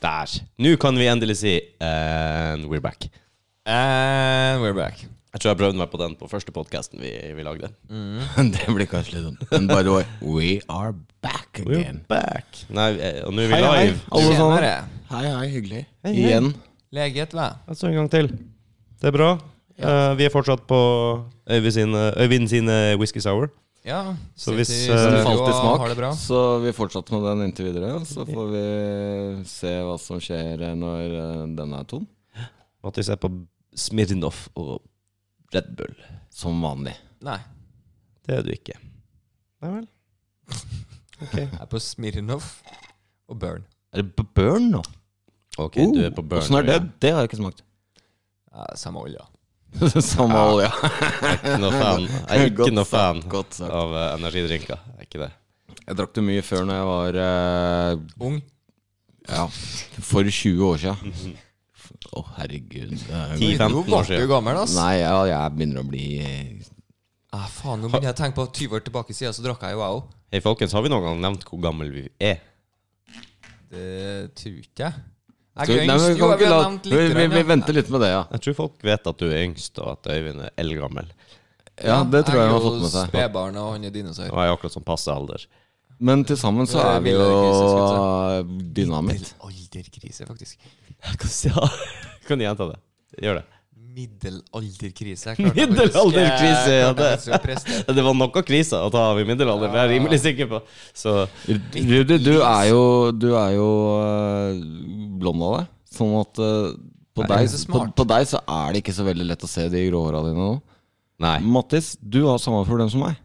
Der. Nå kan vi endelig si And we're back. And we're back. Jeg tror jeg prøvde meg på den på første podkasten vi, vi lagde. Mm. det blir kanskje litt sånn. Men bare år. We are back again. back. Nei, eh, og nå er vi Hei, hei. live. Alle sammen. Tjenere. Hei, hei, hyggelig. Hei, hei. Igjen. Leget, hva? Altså en gang til. Det er bra. Eh, vi er fortsatt på Øyvind sin, Øyvind sin eh, whisky sour. Ja. Så sitter hvis, i eh, Den studio falt i og Har det bra. smak, så vi fortsatte med den inntil videre. Så får vi se hva som skjer når eh, den er tom. Mattis er på Smirnov og Red Bull. Som vanlig. Nei, Det er du ikke. Nei vel. Ok. jeg er på Smirnov og Burn. Er det b- burn nå? Uh, Ok, du er på Burn. Åssen er det? Det har jeg ikke smakt. Ja, samme olja. Samme olja. Jeg er ikke noe fan, jeg er ikke Godt noe fan sagt, godt sagt. av eh, energidrinker. Jeg er ikke det. Jeg drakk det mye før når jeg var eh, Ung. Ja, for 20 år siden. Mhm. Å, herregud. Det er jo- 10-15 Nå år ble siden. du gammel, ass. Nei, ja, jeg begynner å bli Ah, faen, nå begynner jeg å tenke på 20 år tilbake i siden, så drakk jeg jo jeg òg. Hei, folkens, har vi noen gang nevnt hvor gammel vi er? Det tror ikke jeg. Nei, Jeg er men yngst. vi, Jo, kan jeg ikke vil ha la, nevnt vi, litt. vi, vi grann, ja. venter litt med det, ja. Jeg tror folk vet at du er yngst, og at Øyvind er eldgammel. Ja, Det tror jeg er han har jo fått med seg. Spedbarn, og han er dinosaur. Og jeg er akkurat sånn passe alder. Men til sammen så Det er er vi jo dynamitt. Middelalderkrise, faktisk. Kan du gjenta det? Gjør det. Middelalderkrise. jeg klarte faktisk- Middelalderkrise, ja, jeg klarte det. faktisk å prestere. Det var noe kriser å ta av i middelalderen, det er jeg rimelig sikker på. Så Rudi, du er jo, du er jo øh, blond av deg. Sånn at øh, på Er jeg deg, så på, smart? på deg så er det ikke så veldig lett å se de grå håra dine nå. nei. Mattis, du har samme problem som meg.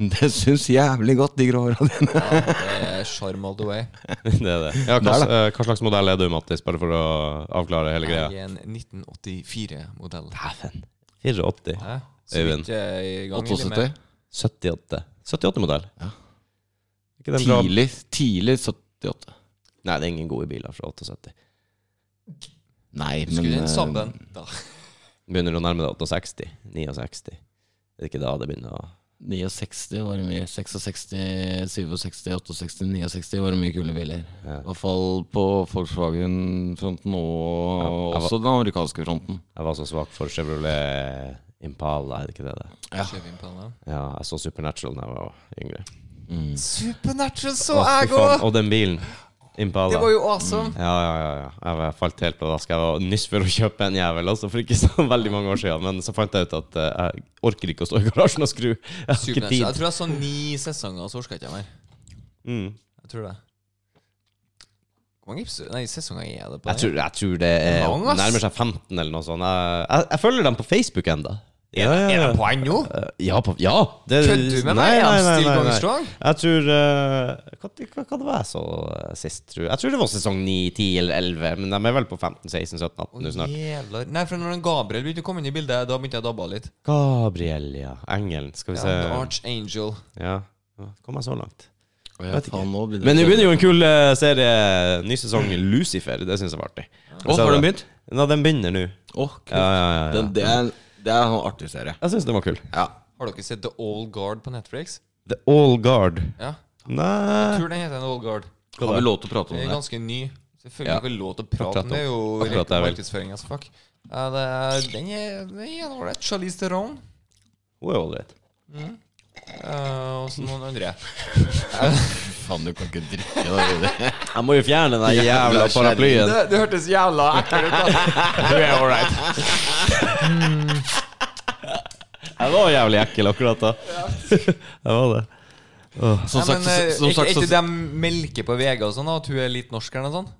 Det syns jævlig godt, de grå håra dine. Ja, det er Charm all the way. Det er det. Ja, hva, Det er eh, hva slags modell er du, Mattis, bare for å avklare hele Jeg greia? er en 1984-modell. Dæven. 84. Hæ? Så Øyvind. vidt jeg er i gang eller 78. med. 78. 78-modell. Ja. Ikke den bra? Tidlig, tidlig 78. Nei, det er ingen gode biler fra 78. Nei, men Husker du eh, den øh, sabben? Da. Begynner å nærme deg 68. 69. Er det ikke da det begynner å 69 var det mye. 66, 67, 68, 69 var det mye kule biler. Ja. I hvert fall på Volkswagen-fronten og Ja, jeg var- også den amerikanske fronten. Jeg var så svak for Chevrolet Impala, er det ikke det det? Ja. Kjører vi inn på den da? Ja, jeg så Supernatural da jeg var yngre. Mm. Supernatural så Å, fy jeg faen, òg! og den bilen. Impala. Det var jo awesome. Ja, Mm. ja, ja. ja. Jeg var- Jeg falt helt pladask. Jeg var nyss for å kjøpe en jævel, altså, for ikke så veldig mange år siden. Men så fant jeg ut at eh, jeg orker ikke å stå i garasjen og skru. Jeg har ikke Supernatural. Jeg tid. tror jeg så ni sesonger, så orka jeg ikke mer. Mm. Jeg tror det. Hvor mange episoder- Nei, sesonger er det på Jeg, den? tror, jeg tror det er Mange, ass. nærmer seg 15 eller noe sånt. Jeg, jeg, jeg følger dem på Facebook ennå. Ja, ja, Er ja. det poeng nå? Eh, ja, på, ja. Det, Kødder du med meg? Nei, nei, I'm nei, still nei, going nei. strong. Jeg tror eh, hva, hva, hva det var jeg så eh, sist, tror jeg? Jeg tror det var sesong 9, 10 eller 11. Men de er vel på 15, 16, 17, 18 nå snart. Jævlar. Nei, for når den Gabriel begynte å komme inn i bildet, da begynte jeg å dabbe av litt. Gabriel, ja. Engelen. Skal vi Ja, se. Archangel. Ja. ja. Kom jeg så langt? Jeg vet ikke. faen, nå begynner Men det jeg å- begynner jo en kul eh, serie. Ny sesong Lucifer. Det syns jeg var artig. Å, har den begynt? Ja, den begynner nå. Å, Ja, kult. ja, ja, ja. Den- Det er det er en sånn artig serie. Jeg syns den var kul. Ja. Har dere sett The Old Guard på Netflix? The All Guard. Ja. Nei Tror den heter The Old Guard. Har vi lov til å prate om Den er det? ganske ny. Selvfølgelig Ja. ikke lov til å prate Akkurat om det. er jo akkurat det Akkurat jeg vil. markedsføring as fuck. Ja, det er, den er den er en ålreit. Charlize Theron. Hun er ålreit. Uh, og så noen andre. Faen, du kan ikke drikke det. Rudi. Jeg må jo fjerne den der jævla paraplyen. Det, det hørtes jævla ekkelt ut. altså. da. Du er ålreit. Jeg var jævlig ekkel akkurat da. Jeg var det. Som sagt, så- som eh, ikke, sagt ikke så- de melker på VG og sånn, da, at hun er litt norsk eller noe sånt?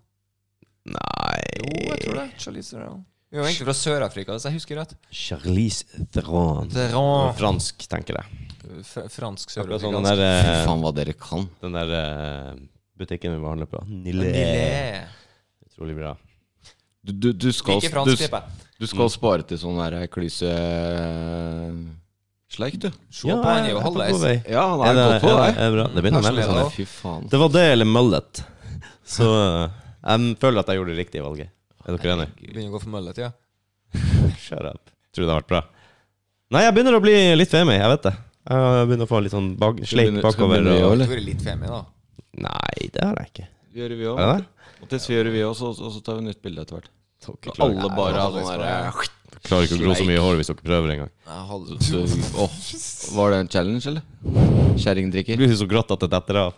Jo, Nei jeg tror det. Charlize Theron. Hun er egentlig fra Sør-Afrika, hvis jeg husker rett. Charlize Theron. Theron. Fransk, tenker jeg. Fr fransk Akkurat sånn den sørafrikansk. der, Fy eh, faen, hva dere kan. den der eh, butikken vi handler på. Nille. Lille. Utrolig bra. Du, du, du skal Ikke du- fransk, tipper jeg. Du skal spare til sånn der klyse Sleik, du. Se på han er jo halvveis. Ja, han Er er, det, godt på er det, Sånn vei. er det bra? Det begynner å melde seg. Kanskje nå. Fy faen. Det var det eller mullet. Så eh, jeg føler at jeg gjorde det riktige valget. Er dere enige? Begynner å gå for møllet, ja. Shut up. Tror du det har vært bra? Nei, jeg begynner å bli litt femi. Jeg vet det. Jeg begynner å få litt sånn bak, sleik begynner- skal du bakover. begynne å gjøre Og... Eller? Du er litt femi, da. Nei, det har jeg ikke. gjør vi òg. Er det det? Mattis, vi gjør vi også, og og så tar vi nytt bilde etter hvert. Dere Og klarer, alle bare har sånn Ja, der klarer ikke å gro så mye hår hvis dere prøver engang. Jeg hadde- du- Åh, Var det en challenge, eller? Det Kjerringdrikker. blir så grått at det detter av.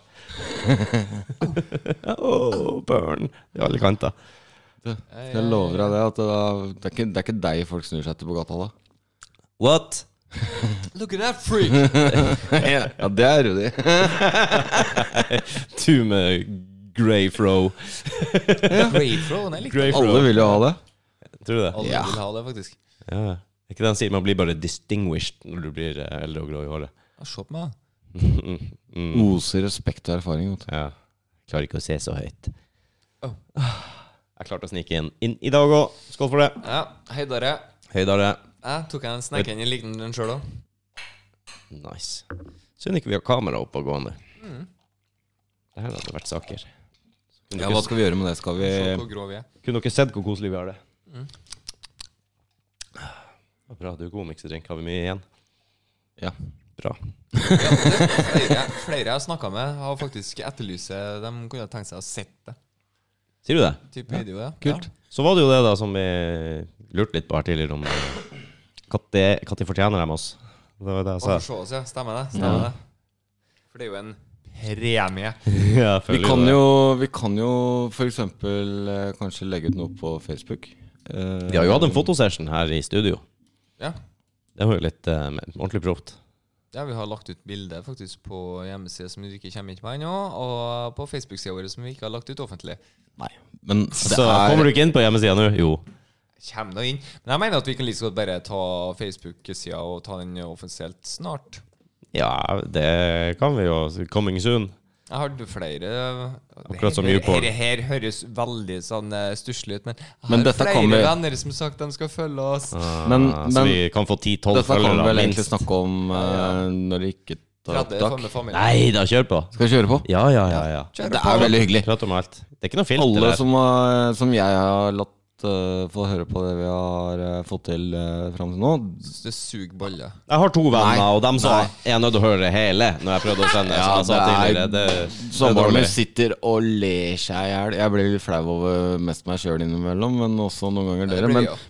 oh, burn i alle kanter. Jeg lover deg det. At det, er, det, er ikke, det er ikke deg folk snur seg til på gata da. What? Look at that freak! Ja, det er Rudi. Du med grey fro. Great throw, den er likt. Grey Alle vil jo ha det. Tror du det? Alle Ja. vil ha det, faktisk. Ja. Er ikke det han sier? Man blir bare distinguished når du blir eh, eldre og grå i håret. Ja, se på meg, da. mm. Oser respekt og erfaring. Vet du. Ja. Klarer ikke å se så høyt. Oh. Jeg klarte å snike inn, inn i dag òg. Skål for det. Ja, hei, Darre. Hei, Darre. Jeg tok en snack inn i liknende den sjøl òg. Nice. Synd ikke vi har kamera oppe og gående. Det her hadde vært saker. Kunne, Mm. Ja, dere, hva skal vi gjøre med det? Skal vi Se hvor grå vi er. kunne dere sett hvor koselig vi har det? Mm. Det var Bra. Du er god miksedrink. Har vi mye igjen? Ja. Bra. Flere, flere jeg har snakka med, har faktisk etterlyst De kunne ha tenkt seg å sett det. Sier du det? Type video, ja. Kult. Så var det jo det da som vi lurte litt på her tidligere, om eh, når fortjener dem oss. Det var det jeg Ja. sa. Og se oss, Altså. ja. Stemmer det. Stemmer det. For det er jo en premie. Ja, jeg føler Vi kan det. jo, vi kan jo f.eks. kanskje legge ut noe på Facebook. Eh, Vi har jo hatt en fotosession her i studio. Ja. Det var jo litt eh, ordentlig proft. Ja, Vi har lagt ut bilde faktisk på hjemmeside som du ikke kommer inn på ennå, og på Facebook-sida vår som vi ikke har lagt ut offentlig. Nei, men det Så kommer er du ikke inn på hjemmesida nå? Jo. Kjem nå inn. Men jeg mener at vi kan like så godt bare ta Facebook-sida og ta den offisielt snart. Ja, det kan vi jo. Coming soon. Jeg har flere Akkurat som Her- YouPorn. her- her høres veldig sånn eh, stusslig ut, men jeg Men har dette flere kan vi- venner som sagt de skal følge oss. Ah, Men- så men- vi kan få 10-12 Dette kan vi følgere, vel egentlig minst. snakke om eh, når vi ikke tar 30 opptak. for familie. Nei da, kjør på. Skal vi kjøre på? Ja, ja, ja. ja. Det er veldig hyggelig. Prat om alt. Det er ikke noe filter Alle der. som, har, som jeg har latt eh, få høre på det vi har eh, fått til uh, fram til nå Det suger baller. Jeg har to venner, Nei. og dem sa jeg er nødt til å høre hele når jeg prøvde å sende. Ja, som jeg sa det tidligere. er- Det, det er Samboeren dårlig. min sitter og ler seg i hjel. Jeg blir litt flau over mest meg sjøl innimellom, men også noen ganger Ja, det dere. blir Men, jeg også.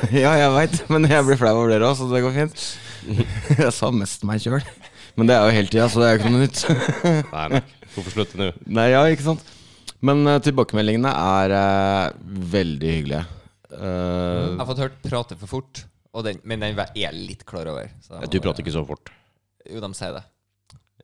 men, ja, jeg veit, men jeg blir flau over dere òg, så det går fint. Jeg sa mest meg sjøl. Men det er jo hele tida, så det er jo ikke noe nytt. Nei, nei. Hvorfor slutte nå? Nei, ja, ikke sant. Men eh, tilbakemeldingene er eh, veldig hyggelige. Eh, Jeg har fått hørt 'prate for fort', og den, men den er jeg litt klar over. så jeg må Du bare- prater ikke så fort. Jo, de sier det.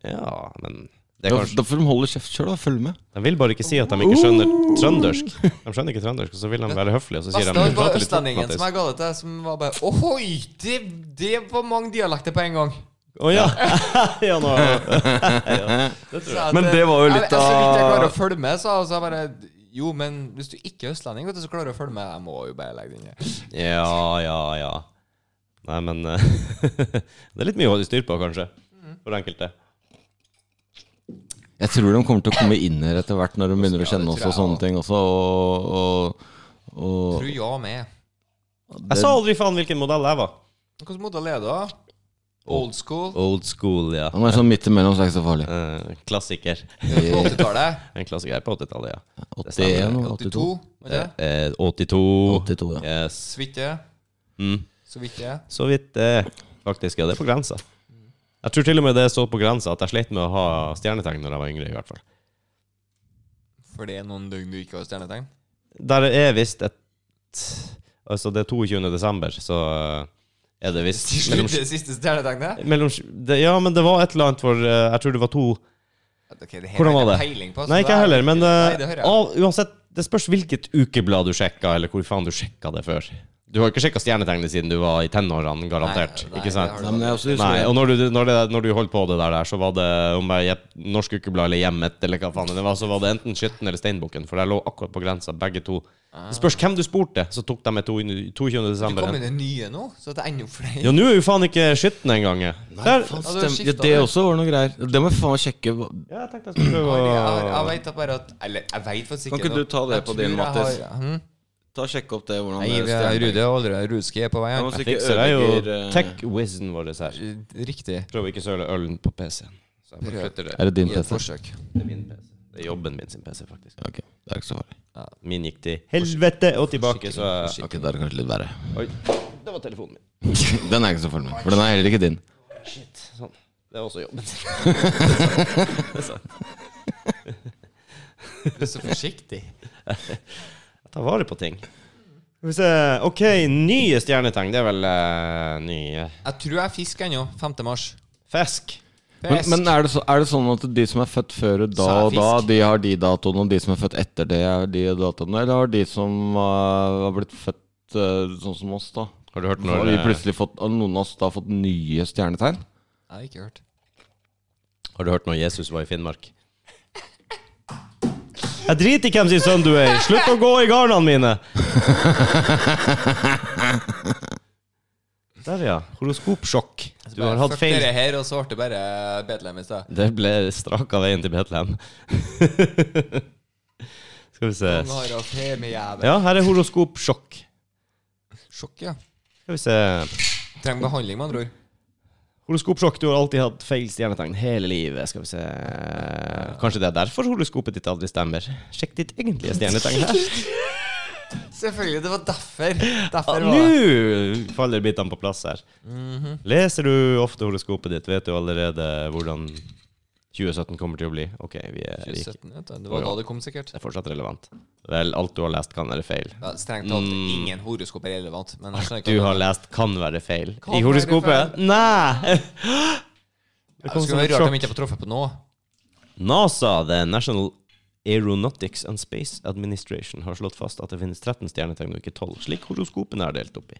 Ja, men det da, er kanskje, da får de holde kjeft sjøl og følge med. De vil bare ikke si at de ikke skjønner trøndersk. De skjønner ikke trøndersk, og så vil de være høflige, og så sier de Basta «Du var prater litt fort, østlendingen som Mattis». jeg ga det til, som var bare Ohoi! Det, det var mange dialekter på en gang. Å ja. ja, nå ja. Så at, Men det var jo eh, litt jeg, jeg, Så vidt jeg av- klarer å følge med, sa jeg, så jeg bare Jo, men hvis du ikke er østlending, vet du, så klarer du å følge med. Jeg må jo bare legge den i. ja, ja, ja. Nei, men eh, Det er litt mye å holde styr på, kanskje. For enkelte. Jeg tror de kommer til å komme inn her etter hvert når de begynner å Ja, det kjenne oss tror og jeg sånne ting også. Og, og, og Tror ja med. Jeg sa aldri faen hvilken modell jeg var. Hvilken modell er du, da? Old school? Old school, ja. Han er sånn midt imellom, så er det ikke så farlig. Eh, klassiker. På 80-tallet? En klassiker på 80-tallet, ja. Det stemmer. 81 og 82? 82. Var det? Eh, 82. 82, ja. Yes. Så vidt det. Mm. Så vidt det. Så vidt eh, faktisk. Ja, det er på grensa. Jeg tror til og med det står på grensa at jeg slet med å ha stjernetegn når jeg var yngre. i hvert fall. For det er noen døgn du ikke har stjernetegn? Der er visst et Altså, det er 22. desember, så eh, er det visst mellom, Det siste stjernetegnet? mellom det, Ja, men det var et eller annet for eh, Jeg tror det var to Okay, det her Hvordan har var jeg det? ikke peiling På, så Nei, ikke det jeg er- heller, men eh, Nei, det hører jeg. av, uansett, det spørs hvilket ukeblad du sjekka, eller hvor faen du sjekka det før. Du har ikke sjekka stjernetegnet siden du var i tenårene, garantert. Nei, nei, ikke sant? det Nei, men jeg også Nei, husker og når du, når, det, når du holdt på det der, der, så var det om jeg gjepp- Norsk Ukeblad eller Hjemmet eller hva faen det var, så var det enten Skytten eller Steinbukken, for der lå akkurat på grensa, begge to. Det spørs hvem du spurte, så tok de med to- 22. Ah. Du desember. kom med det nye nå, så det er enda flere. Ja, nå er jo faen ikke Skytten engang. jeg. Der- Ja, faen, du har stem- ja, skiftet det det. også var noe greier. Det må jeg faen meg sjekke. Ja, jeg tenkte jeg skulle prøve Jeg, jeg, jeg å vet da bare at Eller jeg vet faktisk Kan ikke ikke du ta det Jeg på tror din, jeg Mattis? har- hm? Ta og Sjekke opp det. hvordan Nei, det vi er Rude og Oldre Rudski er på vei. Jeg må her. si- Jeg ikke fikser det jo ødelegger, eh, tech-wizen vår her. Eh, Riktig. Prøver ikke å søle ølen på PC-en. Så jeg bare Prøv. flytter det. Er det din I et PC? forsøk. til min PC. Det er jobben min sin PC, faktisk. Ok, det er ikke så farlig. Min gikk til helvete og tilbake, så Ok, det er kanskje litt verre. Oi. Det var telefonen min. den er jeg ikke så farlig med, for den er heller ikke din. Shit. Sånn. Det er også jobben sin. Du er så forsiktig. Jeg tar vare på ting. Skal vi se OK, nye stjernetegn. Det er vel eh, nye Jeg tror jeg fisker ennå. 5. mars. Fisk. Men, Fisk. men er, det så, er det sånn at de som er født før da Så er og da, fisk. de har de datoene, og de som er født etter det, er de datoene? Eller har de som eh, har blitt født eh, sånn som oss, da? Har du hørt Har når vi eh, plutselig fått, har noen av oss da fått nye stjernetegn? Jeg har ikke hørt. Har du hørt når Jesus var i Finnmark? Jeg driter i hvem sin sønn du er. Slutt å gå i garnene mine! Der, ja. Horoskopsjokk. Du har hatt Fuck feil. dere her, og så ble det bare Betlehem i sted. Det ble straka veien til Betlehem. Skal vi se Kong Harald Femijævel. Ja, her er horoskopsjokk. Sjokk, ja. Skal vi se Trenger behandling, med andre ord. Horoskopsjokk. Du har alltid hatt feil stjernetegn hele livet. Skal vi se Kanskje det er derfor horoskopet ditt aldri stemmer. Sjekk ditt egentlige stjernetegn her. Selvfølgelig, det var derfor. Ja, Derfor var det. Nå faller bitene på plass her. Mhm. Leser du ofte horoskopet ditt, vet du allerede hvordan 2017 kommer til å bli. OK, vi er, vi, 2017, vet du. Det var da det kom, sikkert. det er fortsatt relevant. Vel, alt du har lest, kan være feil. Ja, strengt talt, ingen horoskop er relevant. Men jeg skjønner ikke Mm. Du at- har lest 'kan være feil' Kan i være horoskopet? feil. Nei! Det Det kom som skulle et være rart om sjokk. ikke får truffet på noe. NASA, The National Aeronautics and Space Administration, har slått fast at det finnes 13 stjernetegn og ikke 12, slik horoskopene er delt opp i.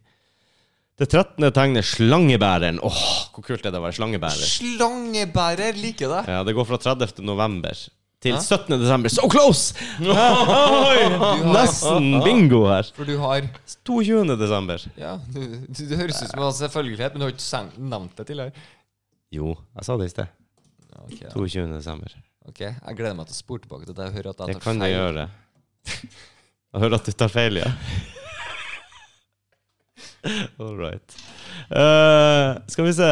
Det 13. tegnet slangebæreren. Åh, hvor kult er det å være slangebærer? Slangebærer liker det. Ja, det går fra 30. november til Hæ? 17. desember. So close! Oi, Nesten bingo her. For du har 22. desember. Ja, du, du, det høres ut som en selvfølgelighet, men du har ikke sen- nevnt det tidligere. Jo, jeg sa det i sted. Ja, Ok, ja. 22. desember. Ok, Jeg gleder meg til å spore tilbake til det jeg hører at jeg Det tar kan jeg feil. gjøre. Jeg hører at du tar feil, ja. All right. Eh, skal vi se.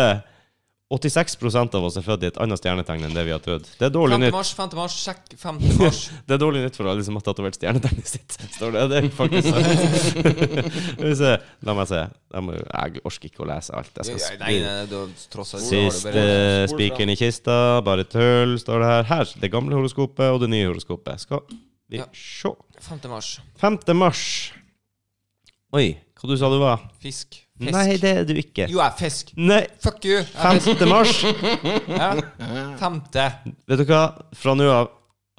86 av oss er født i et annet stjernetegn enn det vi har trodd. Det er dårlig 5. nytt mars, 5. mars, sjekk 5. mars. Det er dårlig nytt for alle som har tatovert stjernetegnet sitt. Står det det, er faktisk? Skal vi se. La meg se. Jeg, må, jeg orker ikke å lese alt. Jeg skal Nei, spy. nei, nei, du, tross alt så har du Siste bare spikeren i kista, bare tull, står det her. Her. Det gamle horoskopet og det nye horoskopet. Skal vi Ja. se. 5. mars. 5. mars. Oi, hva du sa du var? Fisk. Fisk. Nei, det er du ikke. Jo, jeg er fisk. Nei. Fuck you. Jeg er fisk. 5. mars. Ja. Femte. Vet du hva? Fra nå av,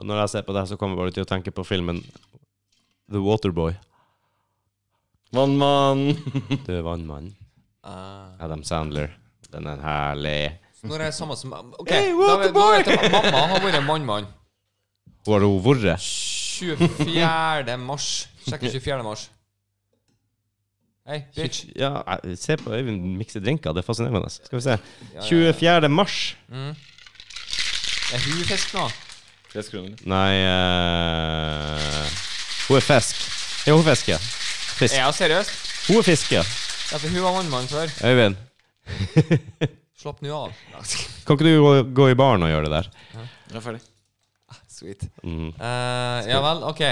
når jeg ser på det, her, så kommer jeg bare til å tenke på filmen The Waterboy. Mann, mann! Du er vannmann. Ah. Adam Sandler. Den er herlig. Når jeg er samme som Ok, Hey, da, what the vet- da vet jeg at mamma har vært mannmann. Hvor har hun vært? 24. mars. Sjekk 24. mars. Hei, bitch. Ja, jeg- se på Øyvind mikse drinker. Det er fascinerende. Skal vi se. Ja, ja, ja. 24. mars. Er hun fisk nå? Nei eh, Hun er fisk. Ja, hun er fisk, ja. Fisk. Er hun seriøs? Hun er fisk, ja. Ja, for hun var mannmann før. Øyvind, Slapp nå av. kan ikke du gå, gå i baren og gjøre det der? Jeg er ferdig. Sweet. Mm. Eh, ja vel, OK.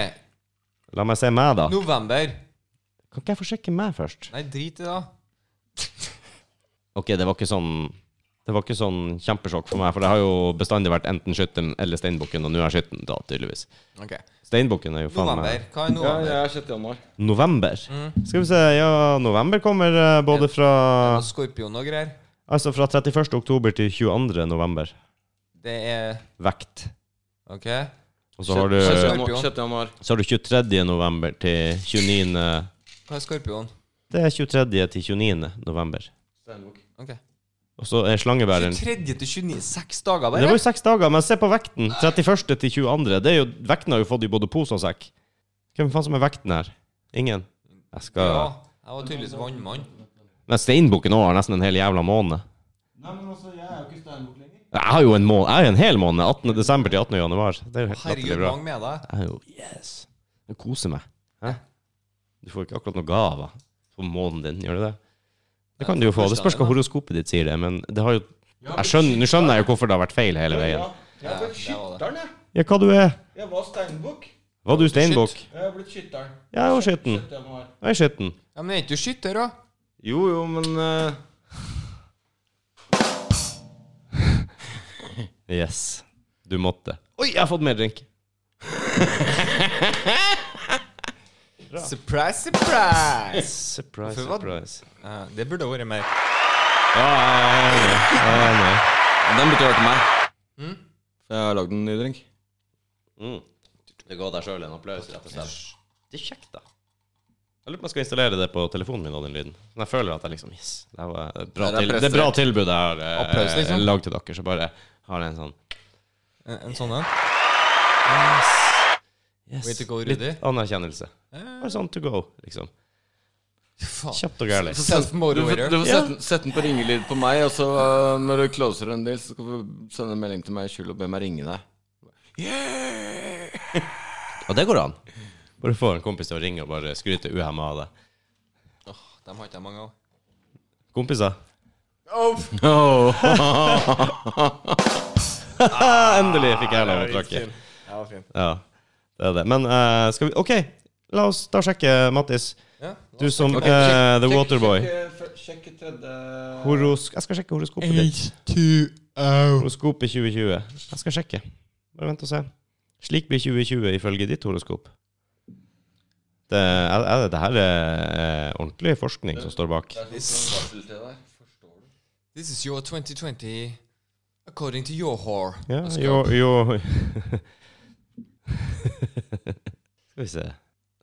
La meg se meg, da. November. Kan ikke jeg få sjekke meg først? Nei, drit i det. da. Ok, det var ikke sånn Det var ikke sånn kjempesjokk for meg, for det har jo bestandig vært enten skytteren eller steinbukken, og nå er skytten, da, tydeligvis. Ok. Steinbukken er jo faen meg November. Hva er november? jeg er 6. januar. November. Mm. Skal vi se, ja, november kommer eh, både fra Og Skorpion og greier. Altså fra 31. oktober til 22. november. Det er Vekt. OK. Og så har du, Sjette- sjette- januar. 6. januar. så har du 23. november til 29. Hva er skorpion? Det er 23. til 29. november. Ok. Og så er slangebæreren 23. til 29. Seks dager, Det var bare? jo seks dager, men se på vekten. 31. til 22. Det er jo, vekten har jo fått i både pose og sekk. Hvem faen som er vekten her? Ingen? Jeg skal Ja. Jeg var tydeligvis vannmann. Men steinbukken òg har nesten en hel jævla måned. Nei, men altså, jeg er jo ikke steinbukk lenger. Jeg har jo en, måned, jeg har jo en hel måned. 18. desember til 18. januar. Det er jo helt Herregud, latterlig bra. mange med deg. Jeg er jo Yes. Jeg koser meg. Hæ? Du får ikke akkurat noen gaver på måneden din, gjør du det? Det kan du jo få. Det spørs hva horoskopet ditt sier det, men det har jo jeg skjønner, Nå skjønner jeg jo hvorfor det har vært feil hele veien. Jeg Ja, det var det. jeg. Ja, hva du er? Jeg var steinbukk. Var du steinbukk? Jeg har blitt skytteren. Ja, og skitten. Jeg er skitten. Ja, Men er ikke du skytter, da? Jo, jo, men eh, Yes. Du måtte. Oi, jeg har fått mer drink. Surprise, surprise! Surprise, Hvorfor var- surprise. Ja, Eh, det burde vært mer. Ja, jeg er enig. Jeg er enig. Den burde vært meg. Mm. For jeg har lagd en ny drink. Mm. Det ga deg sjøl en applaus, rett og slett. Det er kjekt, da. Jeg lurer på om jeg skal installere det på telefonen min. og den lyden Men jeg føler at jeg liksom Yes, det var et bra, Det er til, det er bra tilbud jeg har eh, Applaus, liksom. lagd til dere. Så bare har jeg en sånn En, en sånn en. yes, Way to go, Litt Rudi. anerkjennelse. Eh. Bare sånn to go, liksom. Faen. Kjapt og gærlig. Du får, du Self-motivator. Ja. får sette, den- sette den på ringelyd på meg, og så eh, når du closer en del, så skal du sende en melding til meg i skjul og be meg ringe deg. Og det går an. Bare få en kompis til å ringe og bare skryte uhemma av det. Åh, dem har ikke jeg mange av. Kompiser? Oh, Ah, Endelig fikk jeg lov å trakke. Ja, det er det. Men eh, skal vi OK, la oss da sjekke, Mattis. Ja. Du som er The Waterboy. eh, Sjekk tredje Horos jeg skal sjekke horoskopet ditt. H2O. Horoskopet 2020. Jeg skal sjekke. Bare vent og se. Slik blir 2020 ifølge ditt horoskop. Det, er, er det, det her er eh, ordentlig forskning som står bak. This is your 2020 according to your whore. Ja, Horoskop. jo, jo. Skal vi se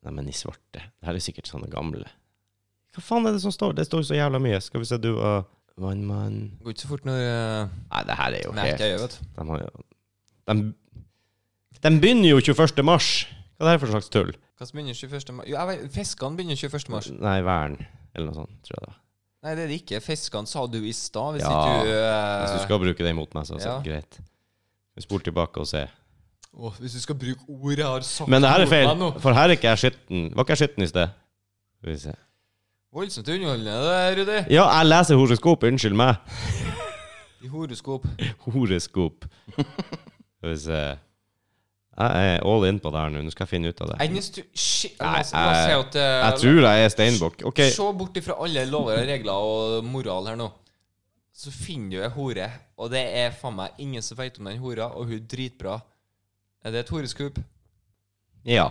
Nei, men i svarte. Det her er sikkert sånne gamle. Hva faen er det som står? Det står jo så jævla mye. Skal vi se, du og Vannmann Det går ikke så fort når uh, Nei, det her er jo helt merker jeg, vet du. De har jo De, de begynner jo 21. mars. Hva er det her for slags tull? Hva som begynner 21. mars? Jo, jeg vet, Fiskene begynner 21. mars. Nei, Vern. Eller noe sånt, tror jeg det var. Nei, det er det ikke. Fiskene sa du i stad. Hvis Ja. ikke du eh, Hvis du skal bruke det imot meg, så er det Ja. greit. Vi spoler tilbake og se. Åh, hvis du skal bruke ord jeg har sagt Men det her er mot feil, meg nå. for her er ikke jeg skitten. Var ikke jeg skitten i sted? Skal vi se. Voldsomt underholdende, det, Rudi. Ja, jeg leser horoskop. Unnskyld meg. I horoskop. Horoskop. Skal vi se. Jeg er all in på det her nå. Nå skal jeg finne ut av det. Eneste Shit. Nei, La oss la oss si jeg- at eh, Jeg tror jeg er steinbukk. OK. Se bort ifra alle lover og regler og moral her nå. Så finner du ei hore, og det er faen meg ingen som veit om den hora, og hun er dritbra. Er det et horeskup? Ja.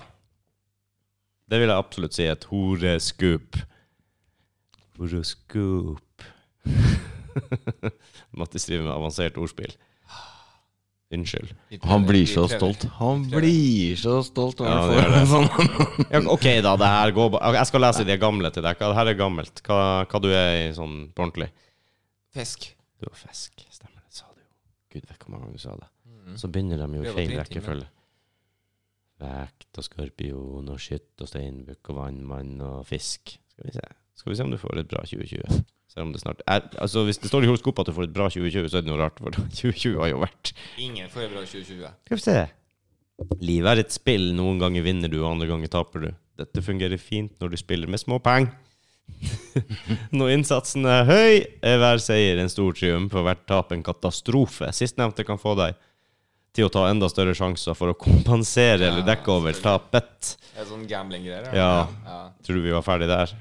Det vil jeg absolutt si. Et horeskup. Horoskop. Mattis driver med avansert ordspill. Unnskyld. Han blir så stolt. Han blir så stolt når Ja, han det får gjør det. en sånn. Ja, ok, da. det her går bare Jeg skal lese de gamle til deg. Hva- Det her er gammelt. Hva, hva du er i sånn på ordentlig? Fisk. Du har fisk. Stemmer det, sa du jo. Gud vet hvor mange ganger du sa det. Så begynner de jo i Prøv å feil tryne til rekkefølge. Vekt og skorpion og skytt og steinbukk og vannmann og fisk. Skal vi se Skal vi se om du får et bra 2020. Selv om det snart er, altså Hvis det står i horoskopet at du får et bra 2020, så er det noe rart, for 2020 har jo vært Ingen får bra 2020. Skal vi se. Livet er et spill. Noen ganger vinner du, og andre ganger taper du. Dette fungerer fint når du spiller med små penger. når innsatsen er høy, er hver seier en stor triumf, og hvert tap en katastrofe. Sistnevnte kan få deg til å ta enda større sjanser for å kompensere eller dekke over tapet. Det er sånn gambling-greier. Ja. Tror du vi var ferdig der?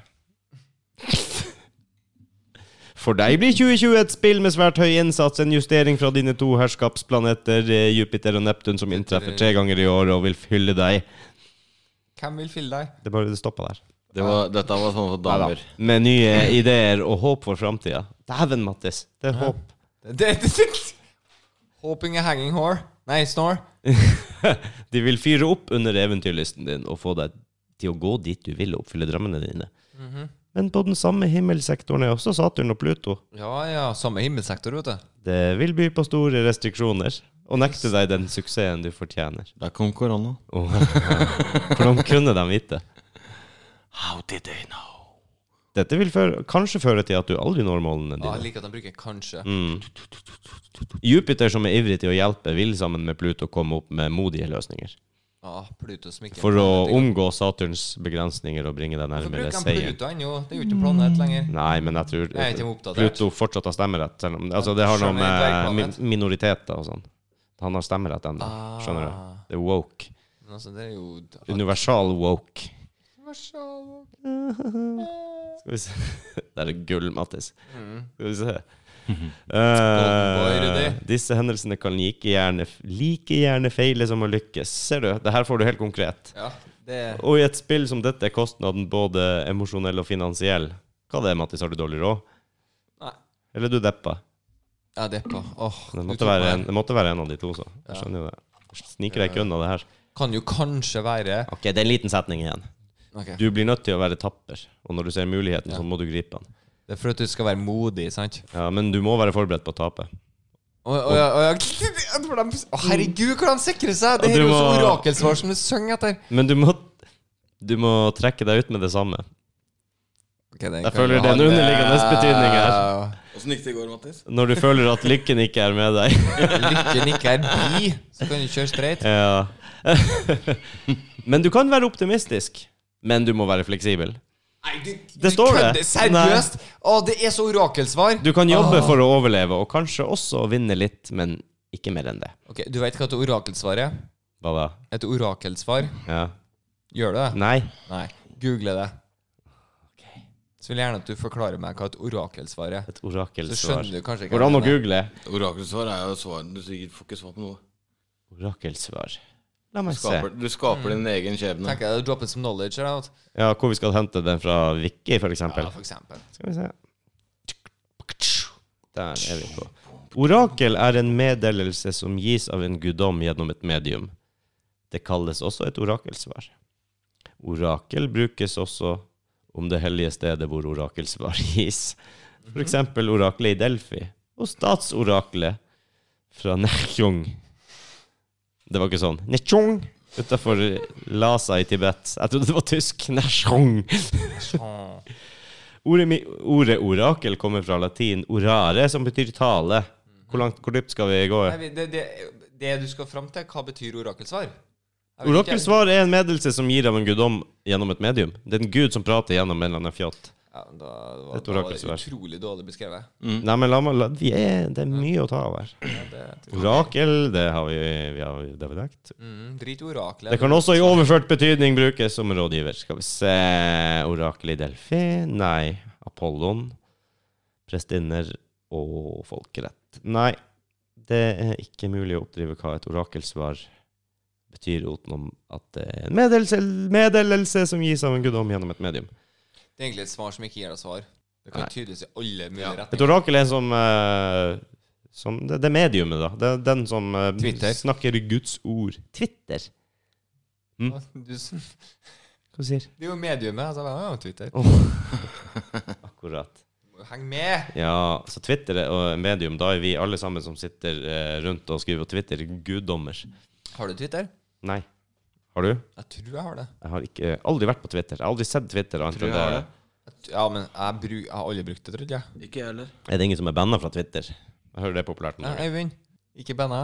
For deg blir 2020 et spill med svært høy innsats, en justering fra dine to herskapsplaneter eh, Jupiter og Neptun, som inntreffer tre ganger i år og vil fylle deg. Hvem vil fylle deg? Det bare det stoppa der. Det var, dette var sånn for Neida. damer. Med nye ideer og håp for framtida. Dæven, Mattis. Det er håp. Det, det, det. Hoping a hanging whore. Nei, snore. De vil fyre opp under eventyrlysten din og få deg til å gå dit du vil og oppfylle drømmene dine. Men på den samme himmelsektoren er også Saturn og Pluto. Ja ja, samme himmelsektor, vet du. Det vil by på store restriksjoner og nekte deg den suksessen du fortjener. Der kom korona. Og- Hvordan kunne de vite? How did they know? Dette vil føre, kanskje føre til at du aldri når målene Ja, jeg dine. liker at de bruker 'kanskje'. Mm. Jupiter, som er ivrig til å hjelpe, vil sammen med Pluto komme opp med modige løsninger. Ja, Pluto som ikke For å omgå Saturns begrensninger og bringe deg Hvorfor nærmere bruker de seieren. Altså, Pluto ennå? Det er jo ikke en planet lenger. Nei, men jeg tror Jeg er ikke oppdatert. Pluto fortsatt har stemmerett. Selv om, altså, det har noe Skjønner jeg, med dvergplanet. min- minoriteter og sånn. Han har stemmerett ennå, skjønner du. Ah. Det er woke. Men altså, det er jo Universal woke. Vær så Skal vi se Der er gull, Mattis. Mm. Skal vi se. boy, Eh, Rudi. disse hendelsene kan like gjerne, like gjerne feile som å lykkes. Ser du, det her får du helt konkret. Ja, det Og i et spill som dette er kostnaden både emosjonell og finansiell. Hva det er, Mattis? Har du dårlig råd? Nei. Eller er du deppa? Ja, det er på. Åh, Det du måtte, tok være meg. en, det måtte være en av de to, så. Jeg Ja. Eh. skjønner jo det. Sniker deg ikke unna det her. Kan jo kanskje være Ok, det er en liten setning igjen. Ok. Du blir nødt til å være tapper, og når du ser muligheten, Ja. så må du gripe den. Det er for at du skal være modig, sant? Ja, men du må være forberedt på å tape. Å å, ja, å, ja. For de- å, herregud, hvordan sikre seg! Og Det her du er jo så må- orakelsvar som du synger etter. Men du må, du må trekke deg ut med det samme. Ok, Jeg den kan føler jo det er en ha underliggende betydning her. Åssen gikk det i går, Mattis? Når du føler at lykken ikke er med deg. Lykken ikke er bi, så kan du kjøre streit. Ja. Men du kan være optimistisk. Men du må være fleksibel. Nei, du, Det står det. kødder. Seriøst? Å, det er så orakelsvar. Du kan Ah. jobbe for å overleve, og kanskje også vinne litt, men ikke mer enn det. Ok, Du vet hva et orakelsvar er? Hva da? Et orakelsvar. Ja. Gjør du det? Nei. Nei. Google det. Så vil jeg gjerne at du forklarer meg hva et orakelsvar er. Et Så orakelsvar. skjønner du kanskje ikke Går det an å hva jeg mener. google? Orakelsvar er jo svaret. Du sikkert får ikke svar på noe. Orakelsvar. La Du meg se. skaper, du skaper din egen skjebne. Tenker jeg det droppes som knowledge eller noe. Ja, hvor vi skal hente den fra Vicky, for eksempel. Ja, for eksempel. Skal vi se. Der er vi på. Orakel er en meddelelse som gis av en guddom gjennom et medium. Det kalles også et orakelsvar. Orakel brukes også om det hellige stedet hvor orakelsvar gis. For eksempel oraklet i Delphi og statsoraklet fra Nechung. Det var ikke sånn. Nechung utafor Lhasa i Tibet. Jeg trodde det var tysk. Nechung. Sånn. Ordet, mi- ordet orakel kommer fra latin orare, som betyr tale. Hvor, langt, hvor dypt skal vi gå? Nei, vi- det, det, det du skal fram til, hva betyr orakelsvar? Jeg vet ikke. Orakelsvar er en meddelelse som gir av en guddom gjennom et medium. Det er en gud som prater gjennom en eller annen fjott. Ja, da, det var, Et da var det orakelsvar. utrolig dårlig beskrevet. Nei, men la meg la, vi er, Det er mye å ta av her. Ja, det, Orakel, det har vi, vi har, det har vi dekt. mm, drit i oraklet. Det kan også i overført betydning brukes som rådgiver. Skal vi se Orakelet i Delfi? Nei. Apollon. Prestinner og folkerett. Nei, det er ikke mulig å oppdrive hva et orakelsvar betyr, utenom at det er en meddelelse, meddelelse som gis av en guddom gjennom et medium. Det er egentlig et svar som ikke gir deg svar. Det kan Nei. tydeligvis i alle mulige Ja. Et retninger. orakel er som, eh, som det, det er mediumet, da. Det er den som eh, Twitter. snakker Guds ord. Twitter? Mm. Du s- Hva sier Det er jo mediumet. Altså, ja, Twitter. Akkurat. Heng med! Ja, så Twitter er- og medium, da er vi alle sammen som sitter eh, rundt og skriver på Twitter, guddommer. Har du Twitter? Nei. Har du? Jeg tror jeg har det. Jeg har ikke, eh, aldri vært på Twitter. Jeg har aldri sett Twitter. Annet Tror enn jeg har det. det. Jeg tr- Ja, men jeg, bru, jeg har aldri brukt det, trodde jeg. Ikke jeg heller. Er det ingen som er banna fra Twitter? Jeg hører det er populært nå. Nei, Øyvind. Ikke banna.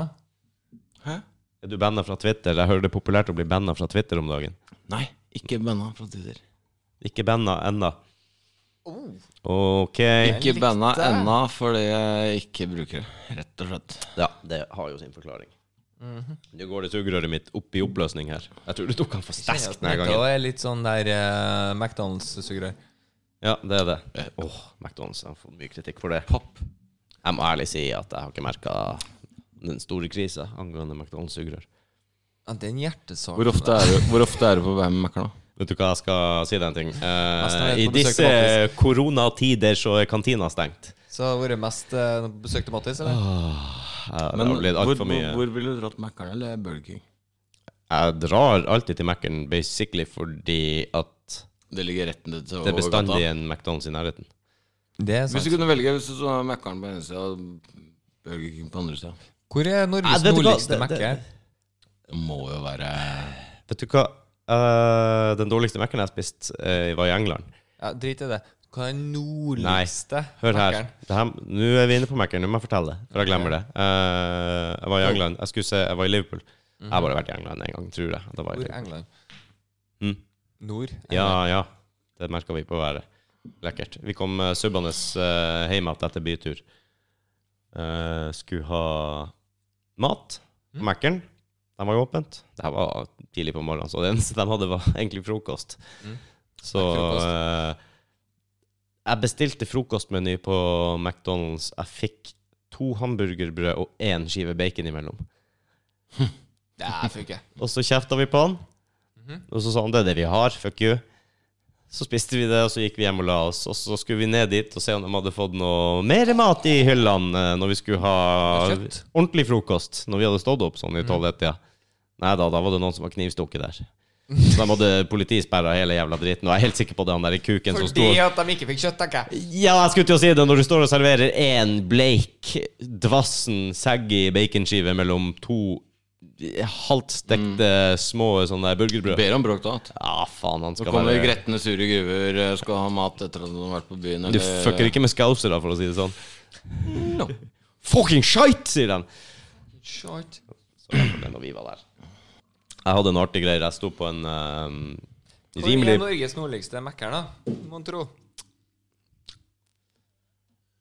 Hæ? Er du banna fra Twitter? Jeg hører det er populært å bli banna fra Twitter om dagen. Nei, ikke banna fra Twitter. Ikke banna ennå. Oh. OK. Ikke likte banna det. ennå fordi jeg ikke bruker det, rett og slett. Ja, det har jo sin forklaring. Nå går det sugerøret mitt opp i oppløsning her. Jeg tror du tok han for sterkt denne gangen. Det er litt sånn der eh, McDonald's-sugerør. Ja, det er det. Eh, Åh, McDonald's har fått mye kritikk for det. Jeg må ærlig si at jeg har ikke merka den store krisa angående McDonald's-sugerør. Ja, det er en hjertesak. Hvor ofte er du, hvor ofte er du på Bam Mac'er'n? Vet du hva, jeg skal si deg en ting. Eh, Neste gang jeg I får besøke disse koronatider så er kantina stengt. Så har det vært mest eh, besøkte Mattis, Ah. eller? Jeg, det Men har blitt hvor, alt for mye. hvor, hvor ville du dratt Mac'er'n eller Burger King? Jeg drar alltid til Mac-en basically fordi at Det ligger rett ned til det er overgata. bestandig en McDonald's i nærheten. Det er Hvis sant. du kunne velge hvis du så Mac'er'n på ene sida og Burger King på andre sida Hvor er Nei, vet Norges du hva? nordligste Det- det- Mac-er? Det må jo være Vet du hva, Eh, den dårligste Mac-en jeg har spist, eh, var i England. Ja, drit i det. Hva er den nordligste Hør her. Mac-eren? Det her. Nå er vi inne på Mac-en. Nå må jeg fortelle det, for jeg glemmer det. Eh, jeg var i England. Jeg skulle se Jeg var i Liverpool. Jeg har bare vært i England én gang, tror jeg. Da var jeg i Hvor Liverpool. England? Mm. Nord? Ja, ja. Det merka vi på været. Lekkert. Vi kom uh, subbende eh, hjem igjen etter bytur. Eh, skulle ha mat på Mac-en. De var jo åpent. Det her var tidlig på morgenen, så det eneste de hadde, var egentlig frokost. Mm. Så Frokost. eh, jeg bestilte frokostmeny på McDonald's. Jeg fikk to hamburgerbrød og én skive bacon imellom. Det er for ikke. Og så kjefta vi på han, Mhm. og så sa han det er det vi har, fuck you. Så spiste vi det, og så gikk vi hjem og la oss. Og så skulle vi ned dit og se om de hadde fått noe mer mat i hyllene eh, når vi skulle ha Kjøtt? Mhm. ordentlig frokost. Når vi hadde stått opp sånn i tolv-ett-tida. Nei da, da var det noen som var knivstukket der. Så de hadde politisperra hele jævla driten. Og jeg er helt sikker på det han der kuken som sto Fordi at de ikke fikk kjøtt, tenker jeg. ja, jeg skulle til å si det. Når du står og serverer én bleik, dvassen, saggy baconskive mellom to halvt stekte små sånne der burgerbrød Ber om bråk da. vet du. Ja, faen, han Så skal kommer være gretne, sure gruver, eh, skal ha mat etter at de har vært på byen. Du eller- fucker ikke med scouser, da, for å si det sånn. No. Fucking shite, sier de! Shit. Så det var det når vi var der. Jeg hadde en artig greie. Jeg sto på en eh, Hvor er rimelig Norges nordligste mekker, da? Mon tro.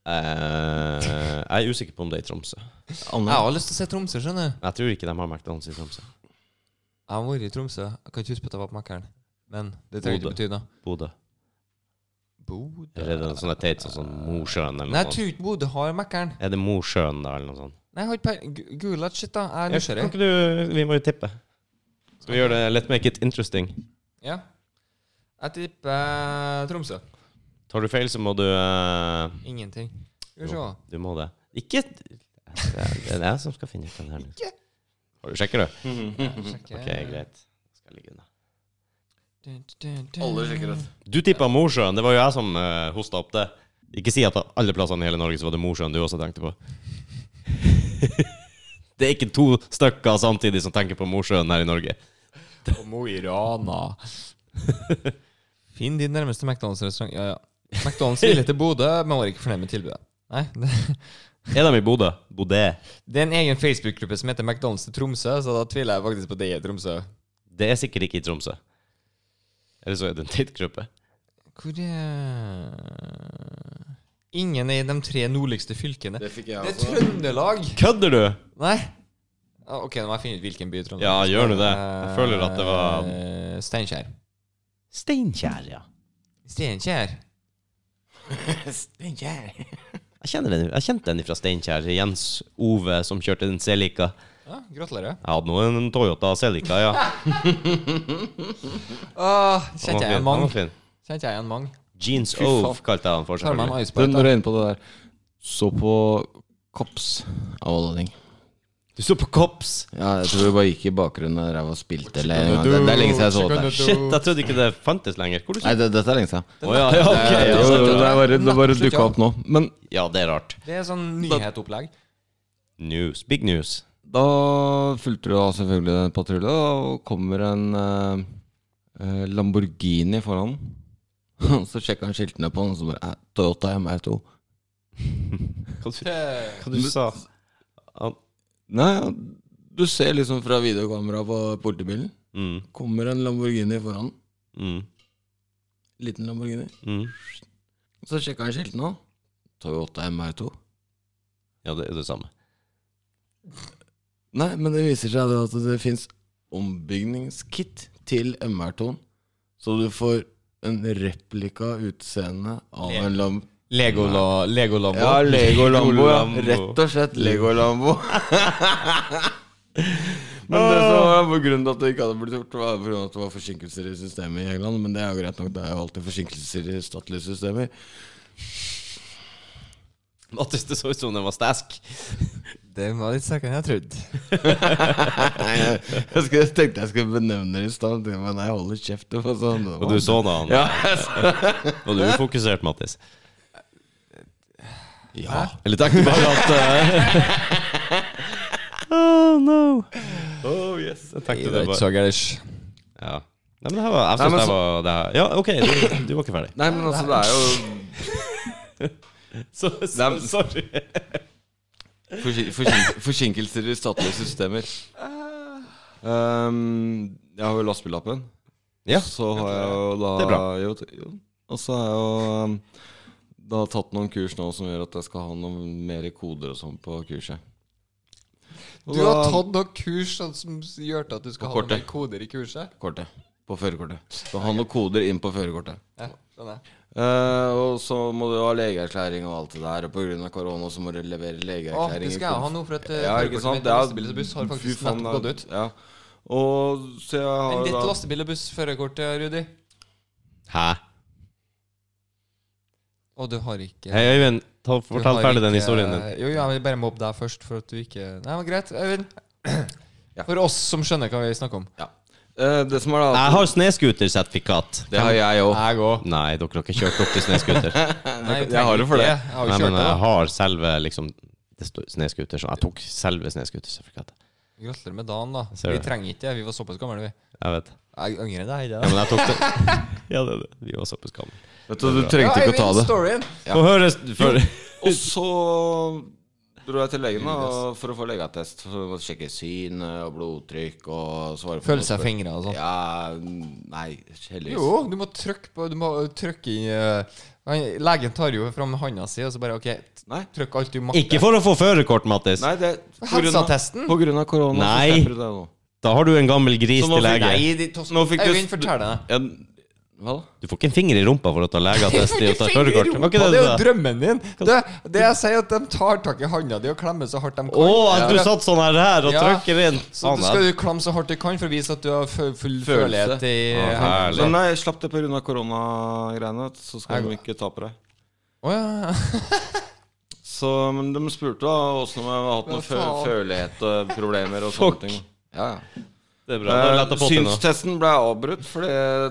Eh, Jeg er usikker på om det er i Tromsø. Mm. Jeg Anne, har lyst til å se Tromsø, skjønner du. Jeg tror ikke de har McDonald's i Tromsø. Jeg har vært i Tromsø. Jeg kan ikke huske at jeg var på Mekkeren. Men det trenger ikke Bodø. bety noe. Bodø. Bodø Eller noe sånt teit sånn som Mosjøen eller Nei, noe jeg sånt. tror ikke Bodø har Mekkeren. Er det Mosjøen, da, eller noe sånt? Nei, jeg har ikke peiling. Gu- Google that shit, da. Jeg er Kan nysgjerrig. ikke du Vi må jo tippe. Skal vi gjøre det Let's make it interesting. Ja. Jeg tipper eh, Tromsø. Tar du feil, så må du eh, Ingenting. Skal vi se. jo, Du må det. Ikke Det er det er jeg som skal finne ut den her. nå. Ikke. Har du sjekker, du? Sjekke. OK, greit. Da Skal jeg ligge unna. Dun, dun, dun. alle sjekker det. Du tippa Mosjøen. Det var jo jeg som uh, hosta opp det. Ikke si at av alle plassene i hele Norge så var det Mosjøen du også tenkte på. det er ikke to stykker samtidig som tenker på Mosjøen her i Norge. Og Mo i Rana. Finn din nærmeste McDonald's-restaurant. Ja, ja. McDonald's ville til Bodø, men var ikke fornøyd med tilbudet. Nei, det, Er de i Bodø? Bodø. det er en egen Facebook-gruppe som heter McDonald's til Tromsø, så da tviler jeg faktisk på det i Tromsø. Det er sikkert ikke i Tromsø. Eller så er det en teitgruppe. Hvor er Ingen er i de tre nordligste fylkene. Det fikk jeg Det er Altså. også. Trøndelag! Kødder du?! Nei. Ah, Ok, nå må jeg finne ut hvilken by i Trøndelag. Ja, gjør du det? Jeg føler at det var- Eh, Steinkjer. Steinkjer, ja. Steinkjer? Steinkjer. Jeg, kjenner den, jeg kjente den fra Steinkjer. Jens Ove som kjørte den Celica. Ja, gratulerer. Jeg hadde nå en Toyota Celica, ja. Åh, Den var kjente jeg fin, en den mang? var fin. Kjente jeg en mang? Jeans Fy faen. Ove kalte jeg den for. Tar meg en selvfølgelig. iceberg. Når du er inne på det der, så på Kops av alle ting. Du sto på Kops! Ja, jeg tror vi bare gikk i bakgrunnen der jeg var spilt eller en gang. Det, det er lenge siden jeg så det. Shit, jeg trodde ikke det fantes lenger. Hvor du Nei, det, dette er lenge siden. Å, ja, ja, ok, Eh, Jo, ja. jo, det er bare, det bare dukka opp nå. Men ja, det er rart. Det er sånn nyhetopplegg. News. Big news. da fulgte du da selvfølgelig en patrulje, og kommer en eh, eh, Lamborghini foran. Så sjekka han skiltene på den, og så bare eh, Toyota MR2. Hva du, Eh, hva du sa Han- Nei, ja, du ser liksom fra videokameraet på politibilen. mm, Kommer en Lamborghini foran. mm, Liten Lamborghini. mm. Så sjekka han skiltene òg. Toyota MR2. Ja, det er det samme. Nei, men det viser seg det at det fins ombygningskit til MR2-en. Så du får en replika utseende av Le- en Lambo. Lego Legolambo. Ja, Lego Lambo. Ja. Lambo. Rett og slett Lego Lambo. men det som var på grunn av at det ikke hadde blitt gjort, var på grunn av at det var forsinkelser i systemet i England. Men det er jo greit nok, det er jo alltid forsinkelser i statlige systemer. Mattis, det så ut som den var stask. Det var litt sterkere enn jeg trodde. jeg, skulle, jeg tenkte jeg skulle benevne det i stad, men jeg holder kjeft. det var Sånn, Og du så da han? Ja, jeg så- Var du ufokusert, Mattis? ja. Eller tenkte du bare at eh, Oh no. Oh yes. Jeg tenkte det bare så gærent. Ja. Nei, men det her var Jeg Nei, men syns det så- var det her. Ja, OK, du, du var ikke ferdig. Nei, men altså, det er jo Så, så, Nei, men- sorry. Forsin- forsin- Forsinkelser i statlige systemer. Ehm, jeg har jo lastebillappen. Ja. Så har jeg jo da Det er bra. Jo, jo, og så har jeg jo ehm, da tatt noen kurs nå som gjør at jeg skal ha noen mer koder og sånn på kurset. Du har tatt noen kurs sånn, som gjør til at du skal På ha noen kortet. koder i kurset? kortet. På førerkortet. Du har noen koder inn på førerkortet. Ja, skjønner jeg. Eh, og så må du ha legeerklæring og alt det der, og pga. korona så må du levere legeerklæring. Å, det skal jeg ha nå, for at eh, Ja, ikke førerkortet sant? mitt til lastebil og buss har faktisk nettopp gått ut. Ja. Og så jeg har Enn ditt da- lastebil og buss-førerkort, Rudi? Hæ? Å, du har ikke Hei, Øyvind. Ta, du fortell har ferdig den ikke- historien din. Jo, jo, jeg vil bare mobbe deg først, for at du ikke Nei, men greit, Øyvind. Ja. For oss som skjønner hva vi snakker om. Ja. Eh, det som er da Jeg har snøscootersertifikat. Det har jeg òg. Jeg òg. Nei, dere har ikke kjørt opp til snøscooter. Jeg jeg har det for det. Jeg har jo Nei, kjørt men det. jeg har selve liksom Det står snøscooter sånn. Jeg tok selve snøscootersertifikatet. da. Gratulerer med dagen, da. Ser Vi du. trenger ikke det. Vi var såpass gamle, vi. Jeg vet. Jeg angrer deg. Ja, men jeg tok det. Ja, det, det. Vi var såpass gamle. Vet du, du trengte ikke å ta det. Storyen. Ja. Få høre s- før Og så dro jeg til legen da for å få legeattest. For å sjekke syn eh, og blodtrykk og svare på Føle seg fingra og sånn. Ja, nei, heldigvis. Jo, du må trykke på Du må trykke i eh, han- Legen tar jo fram handa si, og så bare OK, t- Nei, trykk alt du makter. Ikke for å få førerkort, Mattis. nei det på grunn av- Helseattesten? På grunn av korona. Nei. Så slipper du det nå. Da har du en gammel gris Så nå til fikk, lege. nei, de, tos- nå fikk Øyvind, du fortell deg. ja, Hva da? Du får ikke en finger i rumpa for å ta legeattest i å ta førerkort. Var ikke det det, er du jo sa? drømmen din. Det, det jeg sier, at de tar tak i handa di og klemmer så hardt de kan. Å, at du satt sånn her, her og Ja. trykker inn. Sånn, Så du skal du klemme så hardt du kan for å vise at du har full, full Følelse. følelighet i Ja, herlig. Så nei, jeg slapp det pga. koronagreiene, så skal de ikke ta på deg. Å, ja. Så, men de spurte da åssen om jeg hadde hatt noen Hva fø faen? følelighetsproblemer og Fuck. sånne ting. Ja, ja. Det er bra. Da er det lett Eh, å få til nå. Synstesten ble avbrutt fordi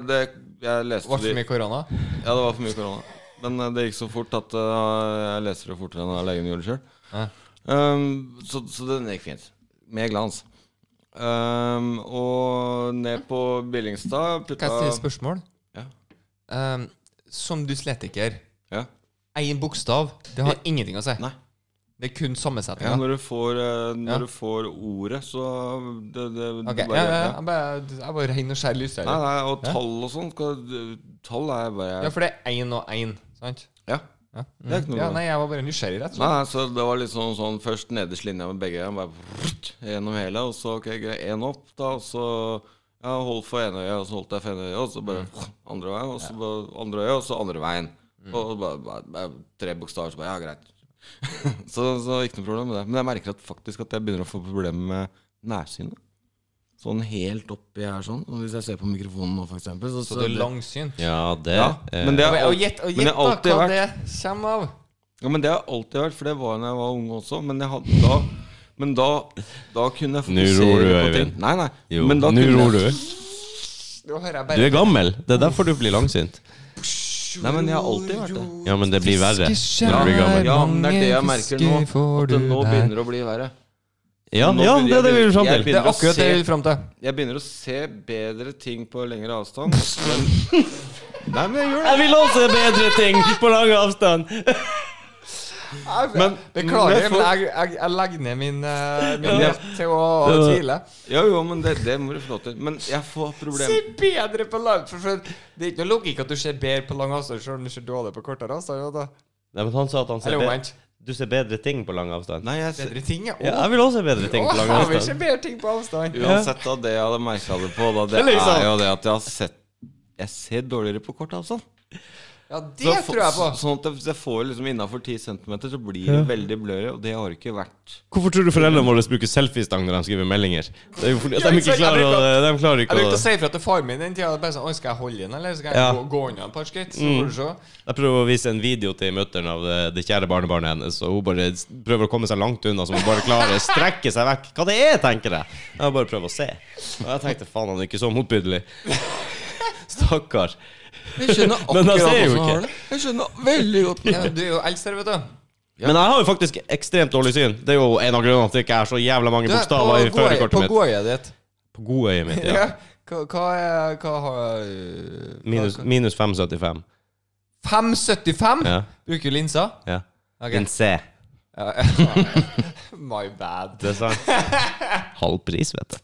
det jeg Det leste Ble for de- mye korona? Ja, det var for mye korona. Men eh, det gikk så fort at eh, jeg leste det fortere enn legen gjorde sjøl. Ja. Um, så, så den gikk fint. Med glans. Um, og ned på Billingstad Kan putta jeg stille spørsmål? Ja. Ehm, som dyslektiker, ja. én bokstav, det har ingenting å si. Nei. Det er kun Ja, sammensetninga. Når du får, eh, når Ja. du får ordet, så det, det, du Ok, bare- ja, ja, jeg bare- jeg var rein og skjær Nei, lysstreker. nei, og Ja. tall og sånn skal- Tall er bare Ja, for det er én og én, sant? Ja. Ja. Det er ikke noe ja, bra. nei, jeg var bare nysgjerrig, rett og Nei, slett. nei, så det var litt sånn, sånn først nederst linja med begge øynene, bare vrrt, gjennom hele, og så ok, greit, én opp, da, og så ja, holdt for ene øyet, og så holdt jeg for ene øyet, og så bare andre veien, og så bare andre øyet, og så andre veien. Og bare, bare, bare tre bokstaver, så bare ja, greit. så, så ikke noe problem med det. Men jeg merker at faktisk at jeg begynner å få problemer med nærsynet. Sånn helt oppi her sånn. Og hvis jeg ser på mikrofonen nå, for eksempel, så, Så det er langsynt. Ja, det Ja, eh, men det er Og alt- gjett og men gjett det da har alltid hva vært- det kommer av. Ja, men det har jeg alltid vært, for det var da jeg var ung også. Men, jeg hadde, da, men da, da kunne jeg Nå ror du, på ting. Øyvind. Nei, nei. Jo, men da nå kunne ror jeg- du. Nå hører jeg Du bare er gammel. Det er derfor du blir langsynt. Nei, men jeg har alltid vært det. Ja, men det blir verre når Ja, du blir gammel. Ja, men det er det jeg merker nå. Mange fisker får At det du nå der. begynner å bli verre. Ja, ja det er det vi vil fram til. Det er akkurat det jeg vil fram til. Jeg begynner å se bedre ting på lengre avstand. Men, nei, men jeg gjør det. Jeg vil også se bedre ting på lang avstand. Men- Beklager, men men for- jeg, jeg, jeg legger ned min, eh, min Ja. rett til å å tvile. Ja, jo, men det, det må du få lov til. Men jeg får Se problemer. bedre på lang for, for Det er ikke noe logikk at du ser bedre på lang avstand selv om du ser dårlig på kortere avstand. Ja, da. Nei, men han sa at han ser Eller bedre, omvendt. du ser bedre ting på lang avstand. Nei, jeg ser Bedre ting, ja. Å, Ja, jeg vil også se bedre ting på lang jeg vil se avstand. bedre ting på avstand. Uansett da, det jeg hadde merka det på, da, det Liksom. er jo det at jeg har sett Jeg ser dårligere på kort avstand. Ja, det Så tror jeg på. så- Sånn at jeg- jeg får liksom innafor 10 cm, så blir det veldig blurry, og det har det ikke vært. Hvorfor tror du foreldrene våre bruker selfiestang når de skriver meldinger? Det er jo fordi at de ikke klarer å De klarer Jeg ikke å brukte å si ifra til faren min den tida. Bare sånn, «Oi, skal jeg holde inn, eller skal jeg Ja. gå, gå unna et par skritt? Mm. Så får du se. Jeg prøver å vise en video til mutter'n av det, det kjære barnebarnet hennes, og hun bare s- prøver å komme seg langt unna, så hun bare klarer å strekke seg vekk. Hva det er, tenker jeg! Jeg bare prøver å se. Og jeg tenkte faen, han er ikke så motbydelig. Stakkar. Jeg skjønner Men jeg ser jo ikke. Jeg skjønner veldig godt Ja, men du er jo eldst her, vet du. Men jeg har jo faktisk ekstremt dårlig syn. Det er jo en av grunnene til at jeg ikke har så jævla mange Du, bokstaver i på gåøy- førerkortet på mitt. gåøyet ditt. På godøyet mitt, ja. Ja. Hva, hva er Hva har hva- Minus, hva- minus 5,75. 575? Ja. Bruker du linser? ja. Ok. En C. Ja. My bad. Det er sant. Halv pris, vet du.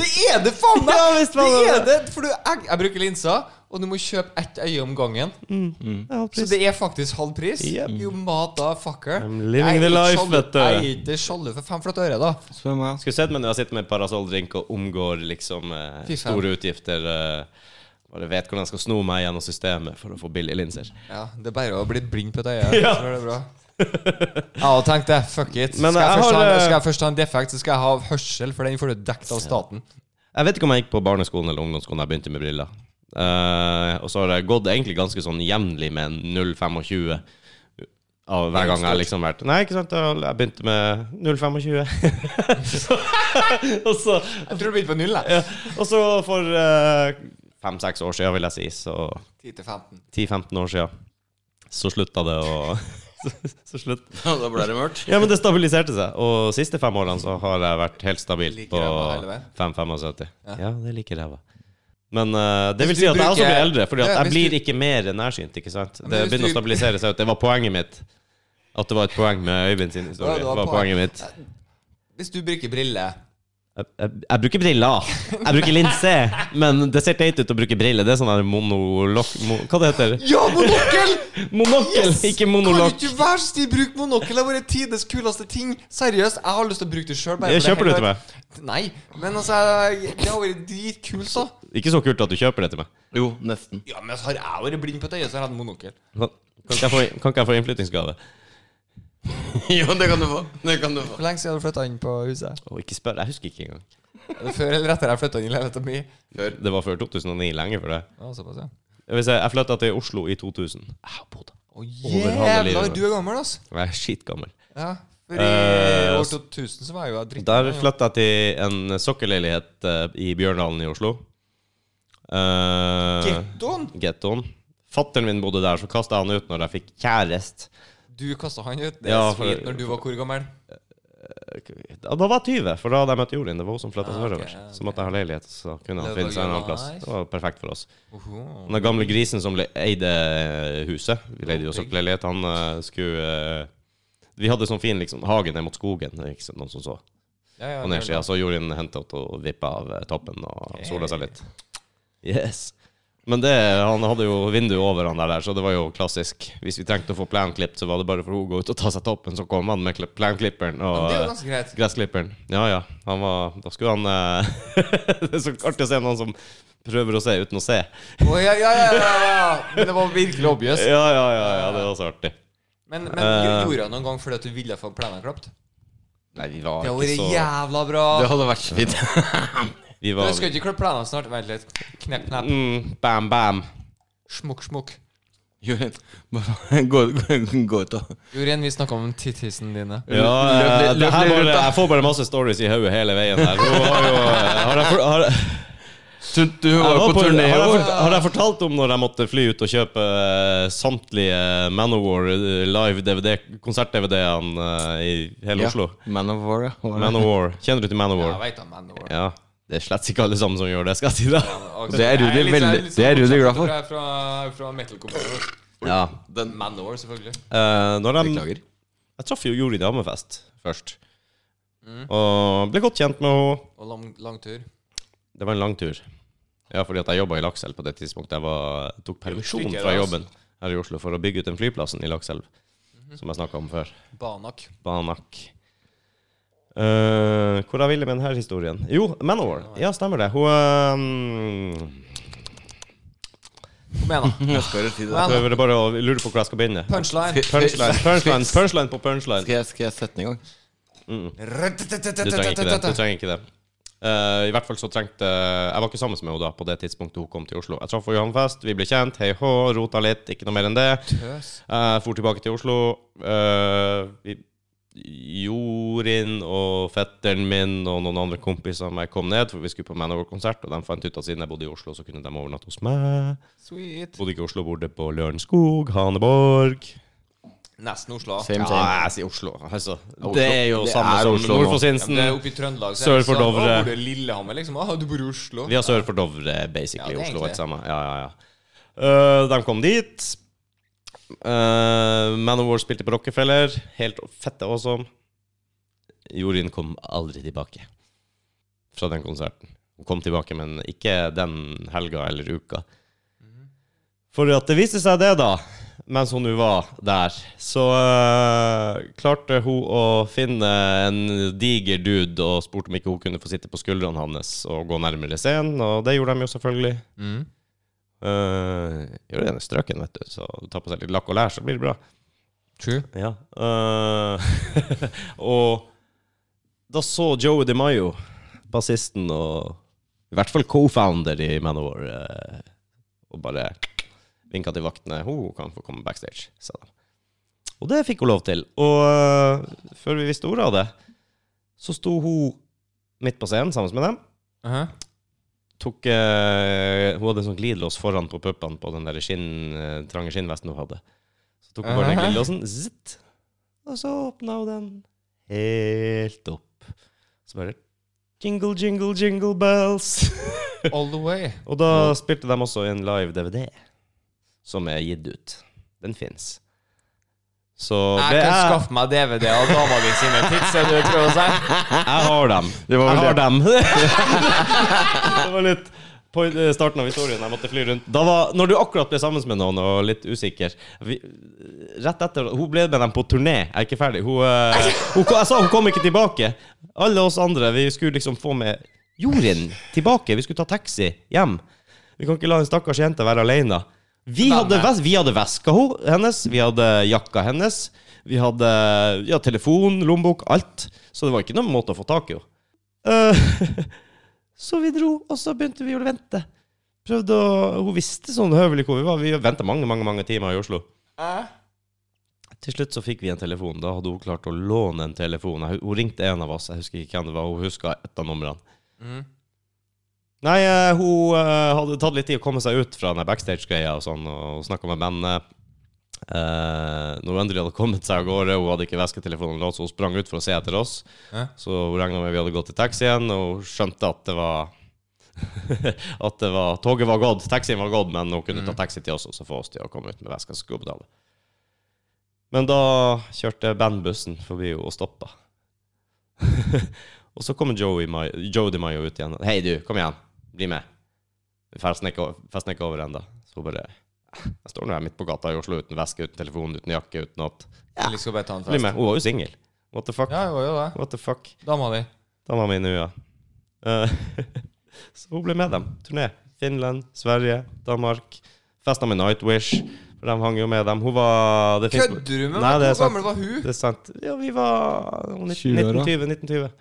Det er det, faen meg! Ja, visst var det det er det! For du, jeg, jeg bruker linser, og og du må kjøpe ett øye om gangen. Ja, Mm. Så pris. det er faktisk halv pris? Yep. You motherfucker. I'm living the life, vet du. Jeg er ikke sjalu for fem flate øre, da. Spør meg. Skulle sett meg når jeg sitter med parasolldrink og omgår liksom eh, Fy faen. store utgifter. Eh, bare vet hvordan jeg skal sno meg gjennom systemet for å få billige linser. Ja, Det er bare å bli blind på et øye. Ja. Ja. Så er det bra. Ja, og tenk det. Fuck it. Men skal, jeg jeg først har, ha, eh, skal jeg først ha en defekt, så skal jeg ha hørsel, for den får du dekt av staten. Jeg vet ikke om jeg gikk på barneskolen eller ungdomsskolen da jeg begynte med briller. Eh, og så har jeg gått egentlig ganske sånn jevnlig med 0,25 av hver gang jeg har liksom vært Nei, ikke sant? Jeg jeg begynte med 0,25. Så- og så Jeg tror du begynte på null, jeg. ja, Og så for eh, fem-seks år siden, vil jeg si, så 10 til 15. 10-15 år siden, så slutta det å så, så slutt. da ble det mørkt. Ja, men det stabiliserte seg. Og de siste fem årene så har jeg vært helt stabil Like på ræva hele veien. 5-75. Ja. Ja, det liker ræva. Men eh, det vil Hvis si du at jeg også bruker- blir eldre, Fordi at Ja, jeg hvis blir du- ikke mer nærsynt. ikke sant? men Det hvis begynner å du- stabilisere seg ut. Det var poenget mitt. At det var et poeng med Øyvind sin Ja, historie. det Det var var poenget mitt Hvis du bruker briller jeg, jeg, jeg bruker briller. Jeg bruker linse. Men det ser teit ut å bruke briller. Det er sånn her monolokk mo, Hva det heter Ja, monokkel! Monokkel, Yes! ikke Kan monolokk. du ikke være så snill bruke monokkel? Det har vært tidenes kuleste ting. Seriøst, jeg har lyst til å bruke det sjøl. Jeg kjøper det til meg. Nei, men altså jeg- Det har vært dritkult, så. Ikke så kult at du kjøper det til meg. Jo, nesten. Ja, men altså, har jeg vært blind på et øye, så har jeg hatt monokkel. Kan ikke jeg få, kan ikke jeg få innflyttingsgave? jo, det kan du få. Det kan du få. Hvor lenge siden har du flytta inn på huset? Å, ikke spør. Jeg husker ikke engang. Er det før eller etter jeg flytta inn i leiligheta mi? Det var før 2009. Lenge før det. Ja, såpass, ja. Jeg, vil si, jeg flytta til Oslo i 2000. Jeg har bodd der. Å, Over halve livet, jævla, men. du er gammel, altså. Jeg er skitgammel. Ja. For i Eh, år s- 2000 så var jeg jo dritt. Der flytta jeg til en sokkelleilighet eh, i Bjørndalen i Oslo. Uh, Gettoen! Gettoen. Fatteren min bodde der, så kasta han ut når jeg fikk kjæreste. Du kasta han ut. Det er Ja, for- sweet når du var hvor gammel? Da da var jeg 20, for da hadde jeg møtt Jorunn. Det var hun som flytta Ah, ok, sørover. ja, ok. Så måtte jeg ha leilighet, så kunne han Det finne var seg en jo annen plass. nice. Det var perfekt for oss. Oho. Den gamle grisen som le- eide eh, huset, vi leide jo sokkelleilighet, han eh, skulle eh, Vi hadde sånn fin liksom, hage ned mot skogen, det er ikke så- noen som så. Ja, ja, På det er nedsida, så Jorunn henta opp og vippa av eh, toppen og sola seg litt. Yes. Men det, han hadde jo vinduet over han der, der, så det var jo klassisk. Hvis vi trengte å få plenklipt, så var det bare for å gå ut og ta seg toppen, så kom han med kli- plenklipperen. bra. Og, Men Det er eh, jo ganske greit. Gressklipperen. Ja, ja. Han var, da skulle han eh, Det er så artig å se noen som prøver å se uten å se. Å, ja, ja, ja, ja, ja. Men det var virkelig obvious. Ja, ja, ja. ja det var så artig. Men, men Eh. gjorde han noen gang fordi at du ville få plenen klapt? Nei, vi var Det hadde ikke vært så jævla bra. Det hadde vært så fint. Vi Du var skal ikke klappe plenen snart. Vent litt. Knepp, knepp. mm, Bam, bam. Smukk, smukk. Jorunn, bare gå, gå, gå ut og Jorunn, vi snakka om tittisene dine. Ja, eh, det her bare, jeg får bare masse stories i hodet hele veien her. Hun har jo eh, Har jeg, for, har, Du, du var jeg jo var på på, har, turné i jeg år. fort, har jeg fortalt om når jeg måtte fly ut og kjøpe eh, samtlige Manowar eh, live DVD, konsert-DVD-ene eh, i hele Oslo? Man of War, ja. Manowar. Kjenner du til Manowar? Jeg vet da, men det var- Ja, det er slett ikke alle sammen som gjør det, skal jeg si da. Og Det er Rudi jeg litt- veldig- jeg litt det er sånn Rudi motsatt glad for. Fra, fra, fra metal-komponenter. Ja. Den Manor, selvfølgelig. Eh, når de, Beklager. jeg traff jo Jori Damefest først, Mm. og ble godt kjent med henne. Og lang, lang tur. Det var en lang tur. Ja, fordi at jeg jobba i Lakselv på det tidspunktet. Jeg var, tok permisjon Stikker, fra altså. jobben her i Oslo for å bygge ut den flyplassen i Lakselv, som jeg snakka om før. Banak. Banak. Eh, hvor jeg ville med denne historien? Jo, Manowar. Ja, stemmer det. Hun eh, Kom igjen, da. Jeg skal jo si det. Men, prøver bare å lure på hvor jeg skal begynne. punchline. Punchline, punchline, punchline på punchline. Skal jeg, skal jeg sette den i gang? Du trenger ikke det. Du trenger ikke det. Eh, I hvert fall så trengte Jeg var ikke sammen med henne da på det tidspunktet hun kom til Oslo. Jeg traff henne i Hammerfest, vi ble kjent, hei hå, rota litt, ikke noe mer enn det. Tøs. Jeg for tilbake til Oslo. eh, vi, Jorin og fetteren min og noen andre kompiser av meg kom ned, for vi skulle på Manowar-konsert, og de fant ut at siden jeg bodde i Oslo, så kunne de overnatte hos meg. Sweet. Bodde ikke i Oslo, bodde på Lørenskog, Haneborg. Nesten Oslo. Ja, Same, same. jeg sier Oslo. Altså, Oslo. det er jo Det samme er som Oslo nå. Nordfoss Ja, men Hinsen. det er oppe i Trøndelag. så Sør er det for sånn, «Å, Dovre». Bor du i Lillehammer, liksom? Å, du bor i Oslo? Vi har sør for Dovre, basically. Ja, det er Oslo, egentlig alt sammen. Ja, ja, ja. Eh, de kom dit. Uh, Manowar spilte på Rockefeller. Helt fette awesome. Jorunn kom aldri tilbake Mhm. fra den konserten. Hun kom tilbake, men ikke den helga eller uka. For at det viste seg det, da, mens hun nå var der, så eh, klarte hun å finne en diger dude og spurte om ikke hun kunne få sitte på skuldrene hans og gå nærmere scenen, og det gjorde de jo selvfølgelig. Mm. Uh, gjør det ene strøken, vet du, så ta på seg litt lakk og lær, så blir det bra. True. Ja. eh, og da så Joey DeMaio, bassisten og i hvert fall co-founder i Manowar, eh, og bare vinka til vaktene. Hun kan få komme backstage, sa de. Og det fikk hun lov til. Og eh, før vi visste ordet av det, så sto hun midt på scenen sammen med dem Aha. tok eh, Hun hadde en sånn glidelås foran på puppene på den der skinn, eh, trange skinnvesten hun hadde. Så tok hun bare den Aha. glidelåsen, zitt, og så åpna hun den helt opp. Så bare Jingle, jingle, jingle bells. All the way. og da spilte de også en live DVD, som er gitt ut. Den fins. Så Jeg det kan er, skaffe meg DVD av dama di sine tics. Er det det du prøver å si? jeg har dem. Det Jeg var vel har det. dem. det var litt på eh, starten av historien. Jeg måtte fly rundt. Da var, når du akkurat ble sammen med noen og litt usikker vi, Rett etter Hun ble med dem på turné. Jeg er ikke ferdig. Hun, eh, hun, jeg sa hun kom ikke tilbake. Alle oss andre, vi skulle liksom få med Jorunn tilbake. Vi skulle ta taxi hjem. Vi kan ikke la en stakkars jente være alene. Vi hadde, ves vi hadde veska ho- hennes, vi hadde jakka hennes, vi hadde ja, telefon, lommebok, alt. Så det var ikke noen måte å få tak i henne. Eh, så vi dro, og så begynte vi å vente. Prøvde å, Hun visste sånn høvelig hvor vi var. Vi venta mange mange, mange timer i Oslo. Til slutt så fikk vi en telefon. Da hadde hun klart å låne en telefon. Jeg hu- Hun ringte en av oss. Jeg husker ikke hvem det var. Hun huska et av numrene. Mm. Nei, eh, hun eh, hadde tatt litt tid å komme seg ut fra den der backstage-greia og sånn, og snakka med bandet. Eh, når hun endelig hadde kommet seg av gårde, hun hadde ikke vesketelefonen låst, så hun sprang ut for å se etter oss. Hæ? Så hun regna med vi hadde gått i taxien, og hun skjønte at det var At det var toget var gått, taxien var gått, men hun kunne Mm. ta taxi til oss og så få oss til å komme ut med veska. Så skulle hun betale. Men da kjørte bandbussen forbi henne og stoppa. og så kommer Joey, Mai- Joe DiMaio ut igjen. 'Hei, du, kom igjen. Bli med.' Vi festen ikke o- festen ikke over ennå. Så hun bare 'Jeg står nå her midt på gata i Oslo uten veske, uten telefon, uten jakke, uten alt.' Ja. Eller skal bare ta en Bli fest. med. Hun var jo singel. What the fuck? Ja, det var jo det. What the fuck? Dama di. Dama mi nå, ja. Eh, så hun ble med dem. Turné. Finland, Sverige, Danmark. Festa med Nightwish. For de hang jo med dem. Hun var det finnes- Kødder du med Nei, meg? det er Hvor sant. gammel var hun? Det er sant. Ja, vi var 20 år, da. 1920-1920.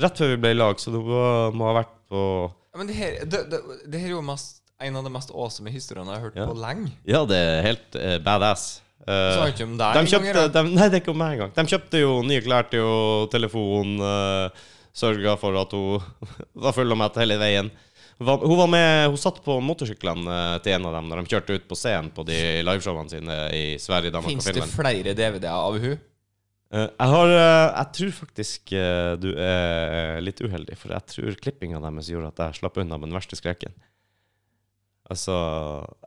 Rett før vi ble i lag, så det var, må ha vært på Ja, Men det her, det, det, det her er jo mest, en av de mest awesome historiene jeg har hørt Ja. på lenge. Ja, det er helt eh, badass. Eh, Så har jeg ikke om deg de en gang, kjøpte, eller? de, nei, det er ikke om meg engang. De kjøpte jo nye klær til jo telefon, uh, sørga for at hun var full og mett hele veien. Hun var- Hun var med, hun satt på motorsyklene eh, til en av dem når de kjørte ut på scenen på de liveshowene sine i Sverige, Danmark og Fins det Finland. flere DVD-er av hun? Eh, jeg, har, eh, jeg tror faktisk eh, du er litt uheldig, for jeg tror klippinga deres gjorde at jeg slapp unna med den verste skrekken. Altså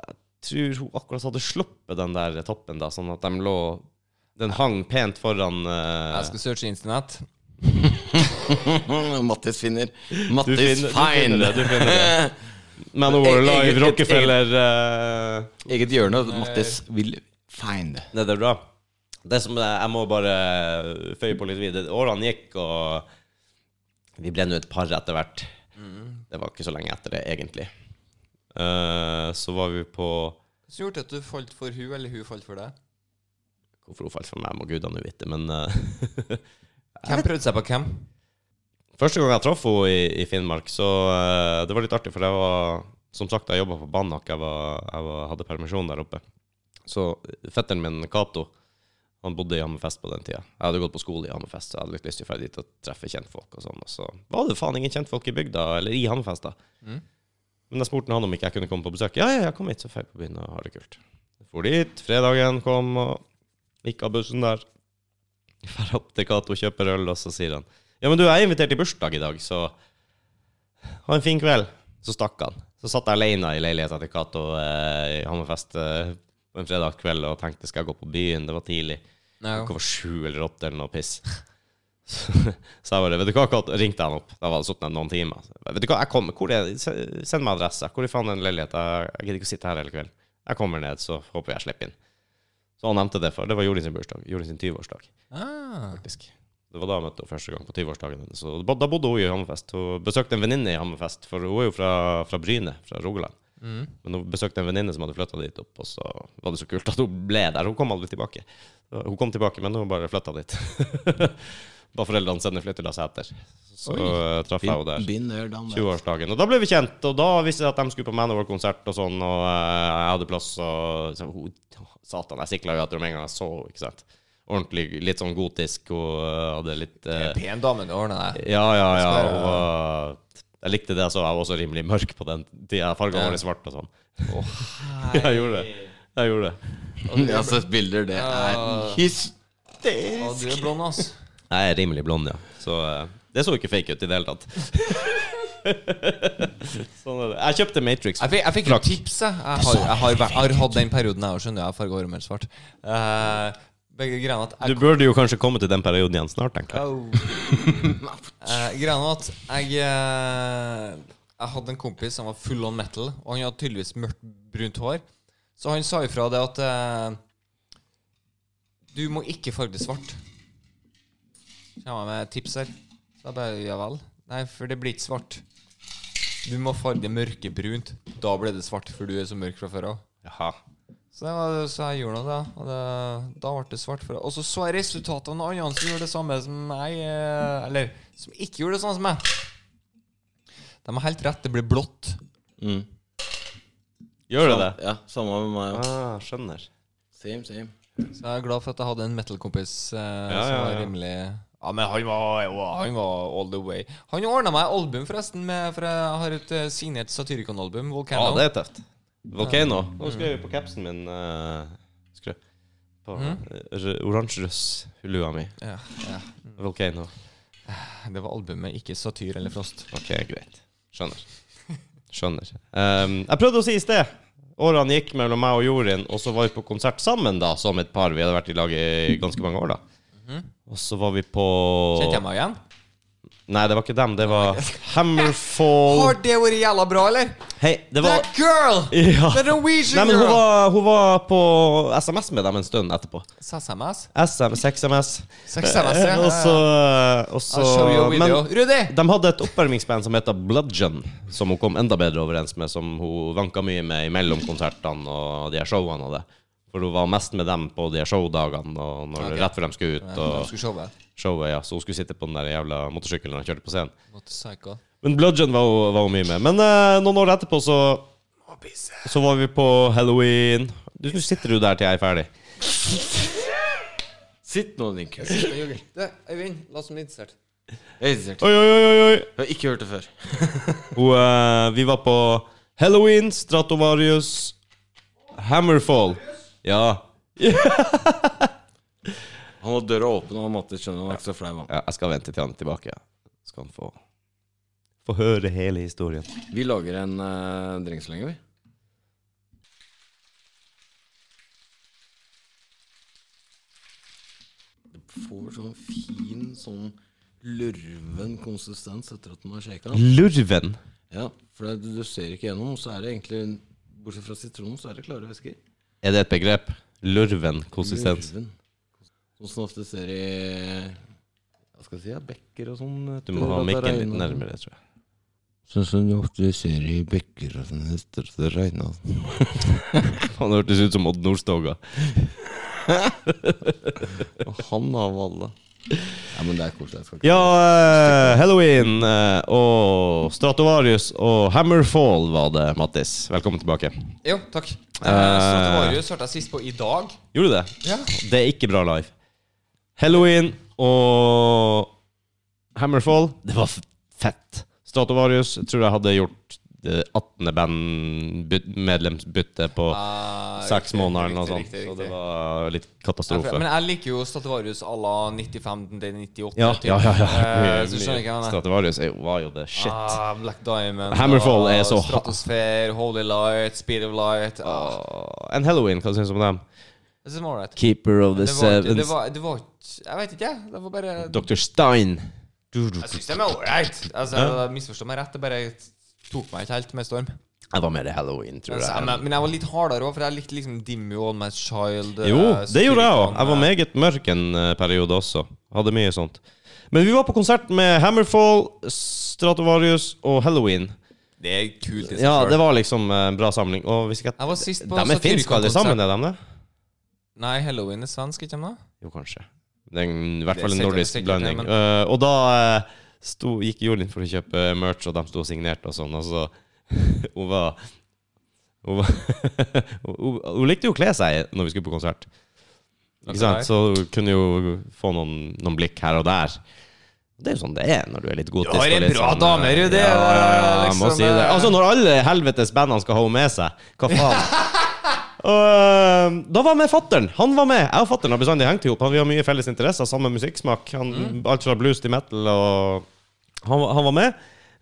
Jeg tror hun akkurat hadde sluppet den der toppen, da, sånn at de lå Den hang pent foran eh, Jeg skal searche internett. Mattis finner. du, finner, du Mattis finner det. fine! Du finner det. Manowar E- eget- Live, eget- Rockefeller eh, Eget hjørne. Mattis vil find. Nei, det er bra. Det som er- Jeg må bare eh, føye på litt videre. Årene gikk, og vi ble nå et par etter hvert. Det var ikke så lenge etter det, egentlig. Eh, så var vi på Hvordan gjorde det at du falt for hun, eller hun falt for deg? Hvorfor hun falt for meg, må gudene vite, men eh, Hvem prøvde seg på hvem? Første gang jeg traff henne i, i Finnmark, så eh, det var litt artig, for jeg var Som sagt, jeg jobba på Banak, jeg, var, jeg var, hadde permisjon der oppe. Så eh, fetteren min, Cato, han bodde i Hammerfest på den tida. Jeg hadde gått på skole i Hammerfest, så jeg hadde litt lyst til å dra dit og treffe kjentfolk og sånn. Og så var det faen ingen kjentfolk i bygda, eller i Hammerfest, da. Mm. Men jeg spurte han om ikke jeg kunne komme på besøk. Ja, ja, jeg kom hit, så drar jeg på byen og har det kult. Jeg For dit, fredagen kom, og gikk av bussen der. Drar opp til Cato, kjøper øl, og så sier han ja, men du, jeg er invitert i bursdag i dag, så ha en fin kveld. Så stakk han. Så satt jeg alene i leiligheten til Cato eh, i Hammerfest eh, på en fredag kveld og tenkte skal jeg gå på byen, det var tidlig. Nei, Klokka var sju eller åtte eller noe piss. Så jeg bare Vet du hva, Cato? Ringte han opp. Da var det sittet noen timer. Så jeg bare, Vet du hva, jeg kommer. Hvor er, send meg adresse. Hvor i faen er den leiligheten? Jeg gidder ikke å sitte her hele kvelden. Jeg kommer ned, så håper jeg slipper inn. Så han nevnte det før. Det var Jorins sin bursdag. Jorins sin 20-årsdag, Ah. faktisk. Det var da jeg møtte henne første gang, på 20-årsdagen hennes. Så bo- Da bodde hun i Hammerfest. Hun besøkte en venninne i Hammerfest, for hun er jo fra, fra Bryne, fra Rogaland. Mm. Men hun besøkte en venninne som hadde flytta dit opp, og så var det så kult at hun ble der. Hun kom aldri tilbake. Så Hun kom tilbake, men hun bare flytta dit. da foreldrene sendte flyttelass etter. Så eh, traff jeg henne der. Been there, done that. 20-årsdagen. Og da ble vi kjent, og da visste jeg at de skulle på Manowar-konsert og sånn, og eh, jeg hadde plass, og så, hun, satan, jeg sikla jo etter henne med en gang jeg så henne, ikke sant. Ordentlig, litt sånn gotisk, og eh, hadde litt eh, Pen dame du ordna deg. ja, ja, ja. Skal Og, være- eh, jeg likte det, så jeg var også rimelig mørk på den tida. Fargene Ja. var litt svarte og sånn. Å, Jeg gjorde det. Jeg gjorde det. Jeg har sett bilder. Det Ah. er Ja. Ja, du er hysterisk! blond, ass. Jeg er rimelig blond, ja. Så eh, det så ikke fake ut i det hele tatt. sånn er det. Jeg kjøpte Matrix. Jeg fikk, jeg fikk jo tips, jeg. Jeg har, jeg har, vært- har hatt den perioden, jeg òg, skjønner du. Jeg har farga håret mitt svart. Eh, begge greiene at Du jeg, burde jo kanskje komme til den perioden igjen snart, tenker jeg. Au. Eh, greiene at jeg eh, Jeg hadde en kompis som var full on metal, og han hadde tydeligvis mørkt, brunt hår. Så han sa ifra det at eh, Du må ikke farge det svart. Så Kommer jeg med tips her. Så jeg bare Ja vel. Nei, for det blir ikke svart. Du må farge det mørkebrunt. Da blir det svart, for du er så mørk fra før av. Jaha. Så, det var, så jeg gjorde noe da, og det, da ble det svart for det. Og så så jeg resultatet av noen andre som gjorde det samme som meg. eh, Eller som ikke gjorde det samme som meg. De har helt rett, det blir blått. Mm. Gjør det det? Ja, samme med meg. ja. Ah, skjønner. Same, same. Så jeg er glad for at jeg hadde en metal-kompis eh, som ja, var ja. rimelig Ja, men han var, han var all the way. Han ordna meg album, forresten, med, for jeg har et eh, signert Satyricon-album, Ja, Volcano. det er tøft. Volcano. Nå skrev jeg på capsen min eh, skrev på Mm. eh, oransjerøs-lua mi. Ja, ja. Volcano. det var albumet, ikke Satyr eller Frost. Ok, greit. Skjønner. Skjønner. Ehm, jeg prøvde å si i sted. Årene gikk mellom meg og Jorin, og så var vi på konsert sammen da, som et par. Vi hadde vært i lag i ganske mange år da. Og så var vi Mhm. Kjente på jeg meg igjen? Nei, det var ikke dem. Det var Hammerfall Har det vært jævla bra, eller? Hei, det var That girl! Ja. The Norwegian Nei, men hun girl! var, hun var på SMS med dem en stund etterpå. SMS? SM, 6MS. Sex SMS, Eh, ja. Og så, og I'll show you a så video. Rudi! De hadde et oppvarmingsband som heter Bludgeon, som hun kom enda bedre overens med, som hun vanka mye med mellom konsertene og de her showene og det. For hun var mest med dem på de her showdagene og når, Ok. rett før de skulle ut. Og Skal showet. showet, ja. Så hun skulle sitte på den der jævla motorsykkelen han kjørte på scenen. Motorcycle. Men Bludgeon var hun, var hun mye med. Men eh, noen år etterpå så Så var vi på Halloween. Du, du sitter jo der til jeg er ferdig. Sitt nå, din kuk. Du, Øyvind, la oss bli interessert. Jeg er interessert. Oi, oi, oi, oi, oi. Jeg har ikke hørt det før. Og, eh, vi var på Halloween, Stratovarius, Hammerfall. Ja. Han hadde døra åpen, og han måtte skjønne han var ikke så flau. han. ja. Jeg skal vente til han er tilbake. Skal han få Få høre hele historien. Vi lager en uh, drink så lenge, vi. Det får sånn fin, sånn lurven konsistens etter at den har shaka. Lurven. Ja, for det, du ser ikke gjennom, så er det egentlig Bortsett fra sitronen, så er det klare væsker. Er det et begrep? Lurven konsistens. Lurven. Sånn som ofte ser i Hva skal jeg si, ja, bekker og sånn. Du må ha mikken litt nærmere, tror jeg. Sånn som du ofte ser i bekker og sånn etter at det altså. regner. Han hørtes ut som Odd Nordstoga. Og han av alle. Ja, men det er koselig. Jeg skal ikke Ja, eh, Halloween eh, og Stratovarius og Hammerfall var det, Mattis. Velkommen tilbake. Jo, takk. Eh, Uh, Stratovarius hørte jeg sist på i dag. Gjorde du det? Ja. Det er ikke bra live. Halloween og Hammerfall, det var f- fett. Stratovarius jeg tror jeg hadde gjort det 18. bandmedlemsbytte på seks måneder eller noe sånt. Ah, Eh, Riktig, Så det riktig. var litt Ja, for- katastrofe. Men jeg liker jo Stratovarius à la 95 til 98. Ja, typ. ja, ja. Eh, ja. Så skjønner jeg ikke hva jeg mener. Stratovarius er jo- var jo det shit. Ah, Black Diamond Hammerfall og er så- Stratosphere, Holy Light, Speed of Light ah. Åh, En Halloween, hva syns du om dem? This is all right. Keeper of the Det var, ikke- det, Sevens. var, det var ikke Jeg vet ikke, jeg. Det var bare Dr. Stein. Jeg syns de er ålreit. Altså, misforstå meg rett, det bare tok meg ikke helt med storm. Jeg var mer i halloween, tror jeg. Men, men Altså, jeg var litt hardere òg, for jeg likte liksom Dimmu og My Child. Jo, eh, det gjorde jeg òg. Spiritan, Jeg var meget mørk en eh, periode også. Hadde mye sånt. Men vi var på konsert med Hammerfall, Stratovarius og Halloween. eh, Det er kult. i seg Ja, selv. det var liksom eh, en bra samling. Og hvis ikke Jeg var sist på De er finske alle sammen, Satyricon-konsert. er de det? Nei, Halloween er svensk, ikke sant? Jo, kanskje. Det er en, i hvert Det fall en sikkert- nordisk sikkert, blanding. ja, men- Eh, og da eh, sto, gikk Jolin for å kjøpe merch, og de sto og signerte og sånn, og så Hun var Hun, var hun, hun likte jo å kle seg når vi skulle på konsert. Ikke sant? Så du kunne jo få noen, noen blikk her og der. Det er jo sånn det er når du er litt gotisk. Du har en og litt bra sånn, dame, du, det ja, ja, er ja, jeg liksom, må si det. eh, Altså, når alle helvetes bandene skal ha henne med seg, hva faen? Og, eh, da var jeg med fattern. Han var med. Jeg og fattern har bestandig hengt ihop. Han- Vi har mye felles interesser, samme musikksmak. Han, Mm. Alt fra blues til metal. Og han, var- han var med.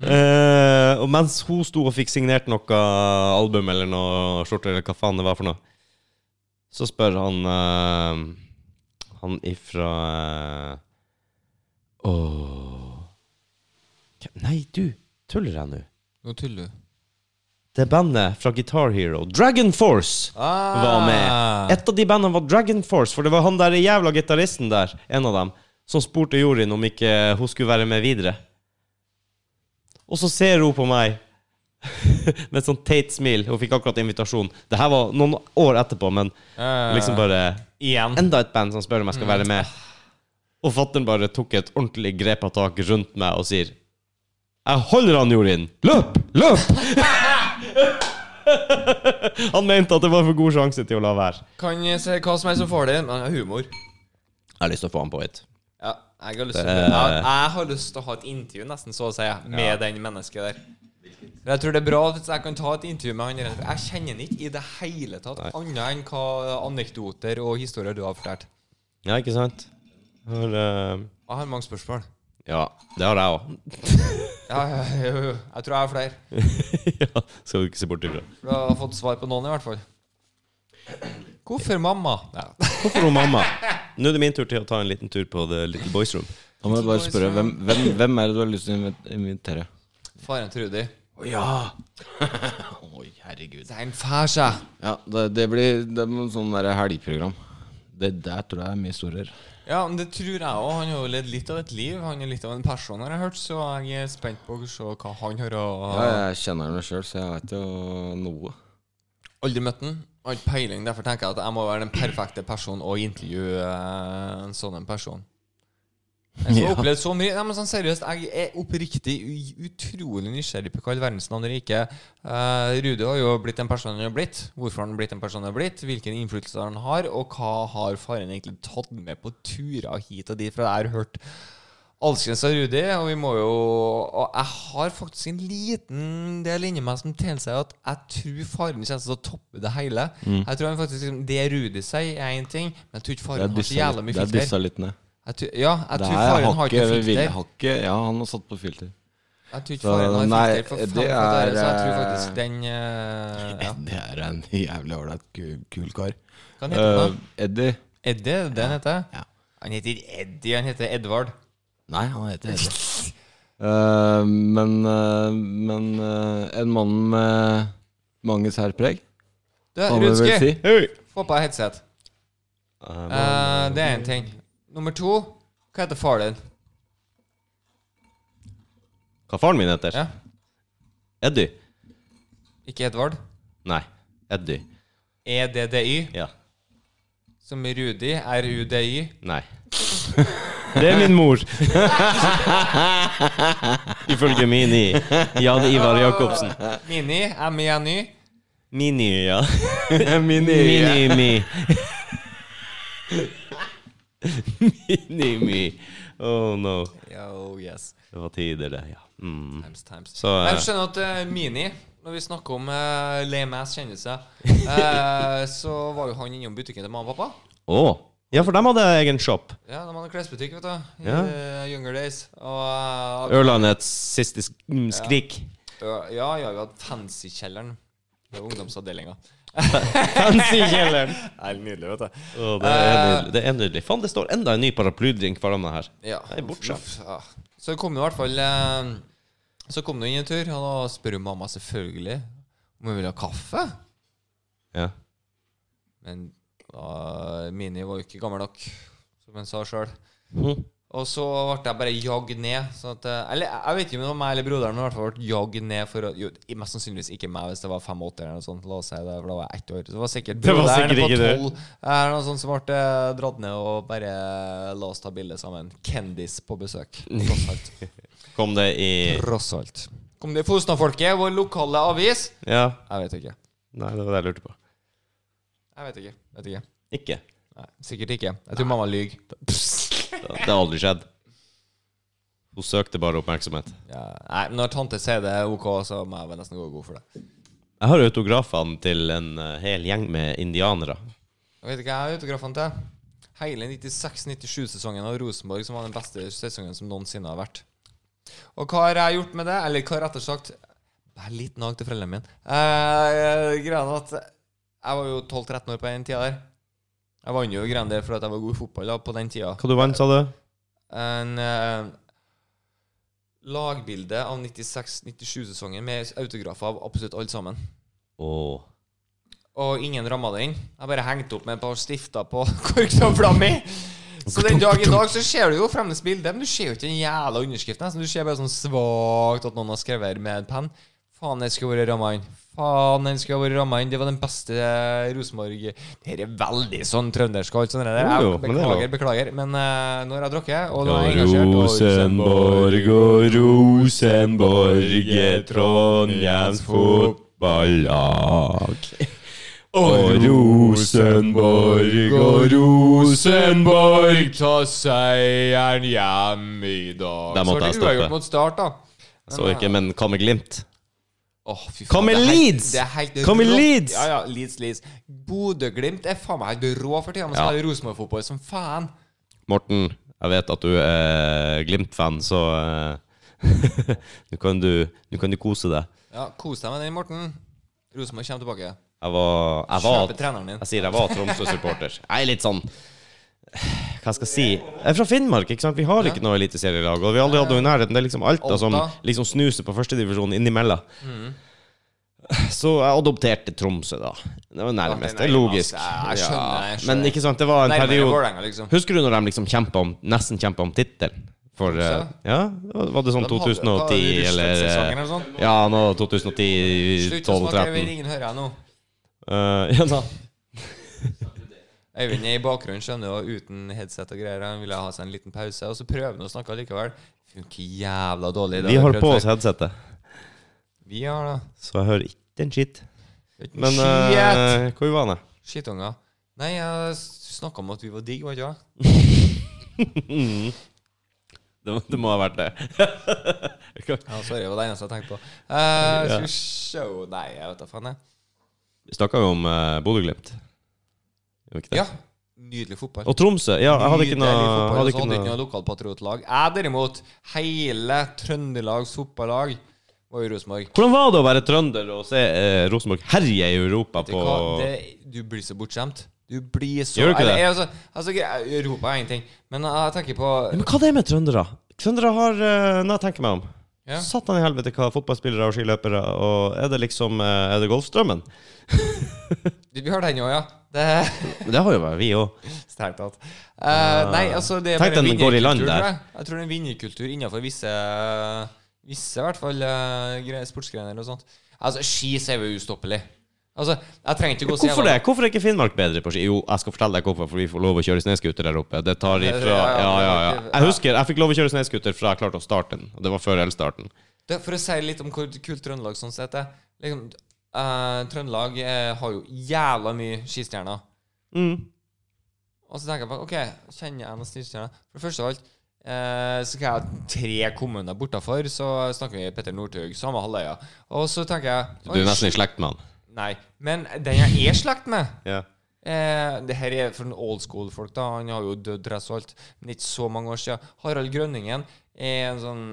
Mm. Eh, og mens hun sto og fikk signert noe album eller noe skjorte eller hva faen det var for noe, så spør han eh, han ifra eh, Åh Hvem- Nei, du, tuller jeg nå? Nå tuller du. Det bandet fra Guitar Hero, Dragon Force, var Ah. med. Et av de bandene var Dragon Force, for det var han der jævla gitaristen der, en av dem, som spurte Jorin om ikke hun skulle være med videre. Og så ser hun på meg med et sånt teit smil. Hun fikk akkurat invitasjon. Det her var noen år etterpå, men Ah. liksom bare Igjen. Enda et band som spør om jeg skal være med. Og fattern bare tok et ordentlig grep av tak rundt meg og sier Jeg holder han, Jorin! Løp! Løp! han mente at det var for god sjanse til å la være. Kan jeg se hva som helst som får det, men humor. Jeg har lyst til å få han på hit. Ja, jeg har lyst til å, jeg, jeg har lyst til å ha et intervju, nesten, så å si, med den mennesket der. For Jeg tror det er bra hvis jeg kan ta et intervju med han der. for Jeg kjenner han ikke i det hele tatt, annet enn hva anekdoter og historier du har fortalt. Ja, ikke sant? Har, eh, Jeg har mange spørsmål. ja, det har jeg òg. Ja, ja, ja, ja. jeg tror jeg har flere. ja, skal du ikke se bort ifra. For jeg har fått svar på noen, i hvert fall. Hvorfor mamma? Ja. Hvorfor hun mamma? Nå er det min tur til å ta en liten tur på The Little Boys Room. Da må jeg bare spørre, hvem, hvem, hvem er det du har lyst til å invit- invitere? Faren Trudy. Ja! Oi, herregud. Det er en fær seg. Ja, det, det blir det blir en sånn der helgeprogram. Det der tror jeg er mye storere. Ja, men det tror jeg òg. Han har jo levd litt av et liv. Han er litt av en person, har jeg hørt, så jeg er spent på å se hva han har å Ja, jeg kjenner henne sjøl, så jeg vet jo noe. Aldri møtt han. Har ikke peiling. Derfor tenker jeg at jeg må være den perfekte personen å intervjue eh, en sånn en person. Jeg har Ja. opplevd så mye Nei, men sånn seriøst, jeg er oppriktig u- utrolig nysgjerrig på hva i all verdens navn det er ikke Eh, Rudi har jo blitt den personen han har blitt. Hvorfor har han blitt den personen han har blitt? Hvilken innflytelse han har? Og hva har faren egentlig tatt med på turer hit og dit? For jeg har hørt Alskens av Rudi, og vi må jo Og jeg har faktisk en liten del inni meg som tilsier at jeg tror faren kommer til å toppe det hele. Mm. Jeg tror han faktisk liksom, Det Rudi sier, er én ting, men jeg tror ikke Det er faren har så dyssa jævla litt, mye det er filter. dyssa litt ned. Jeg tror, ja, jeg Det tror her faren har ikke hakket vil- filter. hakket- Ja, han har satt på filter. Jeg tror ikke Så, faren har nei, filter for faen det for det er, der, så jeg tror eh, faktisk den eh, ja. Det er en jævlig ålreit, ku- kul kar. Hva heter han da? Eh, Eddie. Eddie, det han heter? Ja. Han heter Eddie, han heter Edvard. Nei, han heter Eddie. Eh, men eh, men eh, en mann med mange særpreg, Du, kan vi vel Rudski, si. Hei! få på deg headset. Eh, det er én ting. Nummer to, hva heter far din? Hva faren min heter? Ja. Eddie? Ikke Edvard. E Nei, Eddie. EDDY, Ja. som i Rudi, RUDY. Nei. Det er min mor. Ifølge Mini. Jan Ivar Jacobsen. Mini, MINY. Mini, ja. Mini. Mini-mi. Mini-mi. Oh no. Yo, yes. Det var tider, det. ja. Mm. Times, times. Så, Jeg eh, skjønner at eh, Mini, når vi snakker om uh, lame ass kjendiser, eh, så var jo han innom butikken til mamma og pappa. Å. Ja, for dem hadde jeg egen shop. Ja, de hadde klesbutikk, vet du. I Ja. eh, Younger Days. Og eh, Ørlandets siste sk- mm, skrik. ø- Ja, ja, vi hadde Fancy-kjelleren. Det var ungdomsavdelinga. Fancy-kjelleren. Nydelig, vet du. Eh, Å, det er nydelig. Det er nydelig. Faen, det står enda en ny paraplydrink foran meg her. Ja. Nei, bortskjemt. Uff, ja. Så kom det i hvert fall eh, Så kom det inn en tur, og da spør jo mamma selvfølgelig. Om hun ville ha kaffe? Ja. Men da, Mini var jo ikke gammel nok, som hun sa sjøl. Mhm. Og så ble jeg bare jagd ned. Sånn at, eh, eller jeg vet ikke om det var meg eller broderen, men i hvert fall ble jagd ned for å jo, Mest sannsynligvis ikke meg, hvis det var 85 eller noe sånt. La oss si det, for da var jeg ett år. Så det var sikkert Det var broderen sikkert ikke på det. 12 eller noe sånt som ble eh, dratt ned og bare eh, la oss ta bilde sammen. Kendis på besøk. Tross alt. Kom det i Tross alt. Kom det i Fosna-folket, vår lokale avis? Ja. Jeg vet ikke. Nei, det var det jeg lurte på. Jeg vet ikke. Vet ikke. Ikke. Nei, sikkert ikke. Jeg tror mamma lyver. Det det har aldri skjedd. Hun søkte bare oppmerksomhet. Ja. Nei, men når tante sier det er ok, så må jeg vel nesten gå god for det. Jeg har autografene til en eh, hel gjeng med indianere. Jeg vet ikke, jeg har autografene til hele 96-97-sesongen av Rosenborg, som var den beste sesongen som noensinne har vært. Og hva har jeg gjort med det? Eller hva har jeg rett og slett Bare litt nag til foreldrene mine. Eh, greia er at jeg var jo 12-13 år på den tida der. Jeg vant jo greiene der fordi at jeg var god i fotball da, på den tida. Hva du vant, sa du? en eh, lagbilde av 96-97-sesongen med autografer av absolutt alle sammen. Åh. Og ingen ramma det inn. Jeg bare hengte opp med et par stifter på korktavla mi. Så den dag i dag så ser du jo fremdeles bildet, men du ser jo ikke den jævla underskriften. nesten. Du ser bare sånn svakt at noen har skrevet her med en penn. Faen, den skulle vært ramma inn. Faen, den skulle vært ramma inn. Det var den beste eh, Rosenborg Det her er veldig sånn trøndersk og alt sånt. der. Jo, jo, Jeg men det er beklager, beklager. Men eh, nå har jeg drukket, og nå er jeg engasjert. og- og Rosenborg er Trondheims fotballag. Og Rosenborg og Rosenborg ta seieren hjem i dag. Der måtte jeg så det stoppe. uavgjort mot start, da. eh, Så ikke, men hva med Glimt? Åh, fy faen, Hva med det er helt- Leeds? det er helt Hva med rått. Leeds? Ja, ja, Leeds, Leeds. Bodø-Glimt er faen meg helt rå for tida. Man Ja. spiller Rosenborg-fotball som faen. Morten, jeg vet at du er Glimt-fan, så eh, nå kan, du- nå kan du kose deg. Ja, Kos deg med den, Morten. Rosenborg kommer tilbake. Jeg var, jeg var Kjøpe treneren din. Jeg sier jeg var Tromsø-supporter. Jeg er litt sånn Hva skal jeg si? Jeg er fra Finnmark, ikke sant? Vi har ikke noe eliteserielag. Og vi har aldri hatt noe i nærheten. Det er liksom Alta som Alta. liksom snuser på førstedivisjon innimellom. Mm. Så jeg adopterte Tromsø, da. Det var nærmest. Det er logisk. Ja, jeg skjønner, jeg skjønner. Men ikke sant, det var en Nærmere periode Vålerenga, liksom. Husker du når de liksom kjempa om Nesten kjempa om tittelen? For eh, Tromsø? Ja, var det sånn De hadde- hva var det, 2010 eller eh, Russland-sesongen eller sånn? Ja, nå Slutt å snakke, 2010-12-13. Øyvind. Ingen hører jeg nå. Eh, ja da. Øyvind er i bakgrunnen, skjønner du, og uten headset og greier. Han ville ha seg en liten pause, og så prøver han å snakke likevel. Funker jævla dårlig. det Vi har har prøvd på før. oss headsetet. Vi har da. Så jeg hører ikke en skitt. Men Skiet! eh, hvor var jeg? Skittunger. Nei, jeg snakka om at vi var digg, var ikke det? Det, må- det må ha vært det. Ja, sorry, det var det eneste jeg tenkte på. Eh, Ja. skal vi sjå Nei, jeg vet da faen, jeg. Vi snakka jo om uh, Bodø-Glimt. Gjorde vi ikke det? Ja. Nydelig fotball. Og Tromsø. Ja, jeg hadde ikke noe, Nydelig fotball, hadde og så ikke hadde ikke noe noe lokalpatriotlag. Jeg derimot, hele Trøndelags fotballag var jo Rosenborg. Hvordan var det å være trønder og se eh, Rosenborg herje i Europa Vet på du hva? Det, du blir så bortskjemt. Du blir så Gjør du ikke Eller, det? jeg- Altså, altså, gre- Europa er ingenting. Men jeg tenker på Ja, Men hva det er med trøndere? Trøndere har uh, Nå tenker jeg meg om. Ja. Satan i helvete hva fotballspillere og skiløpere og Er det liksom eh, Er det Golfstrømmen? Vi har den òg, ja. Det Det har jo vært vi òg. Strengt tatt. Eh, nei, altså det er Ah. Tenk bare en den går i land vinnerkultur, der. tror jeg. Jeg tror det er en vinnerkultur innenfor visse Visse i hvert fall eh, gre- sportsgrener og sånt. Altså, ski så er vi ustoppelig. Altså, jeg trenger ikke gå så Hvorfor jævla- det? Hvorfor er ikke Finnmark bedre på ski? Jo, jeg skal fortelle deg hvorfor, for vi får lov å kjøre snøscooter der oppe. Det tar ifra Ja, Ja, ja, ja, ja. Jeg ja. husker jeg fikk lov å kjøre snøscooter fra jeg klarte å starte den, og det var før elstarten. Det, for å si litt om hvor kult Trøndelag sånn sett er. Liksom, eh, Trøndelag eh, har jo jævla mye skistjerner. Mm. Og så tenker jeg på OK, kjenner jeg noen skistjerner? For det første av alt eh, så skal jeg ha tre kommuner bortafor, så snakker vi Petter Northug, samme halvøya. Og så tenker jeg Du er nesten i slekt med han. Nei. Men den jeg er slekt med Ja. eh, Det her er for en old school-folk, da. Han har jo dødd dress og alt. Men ikke så mange år siden. Harald Grønningen er en sånn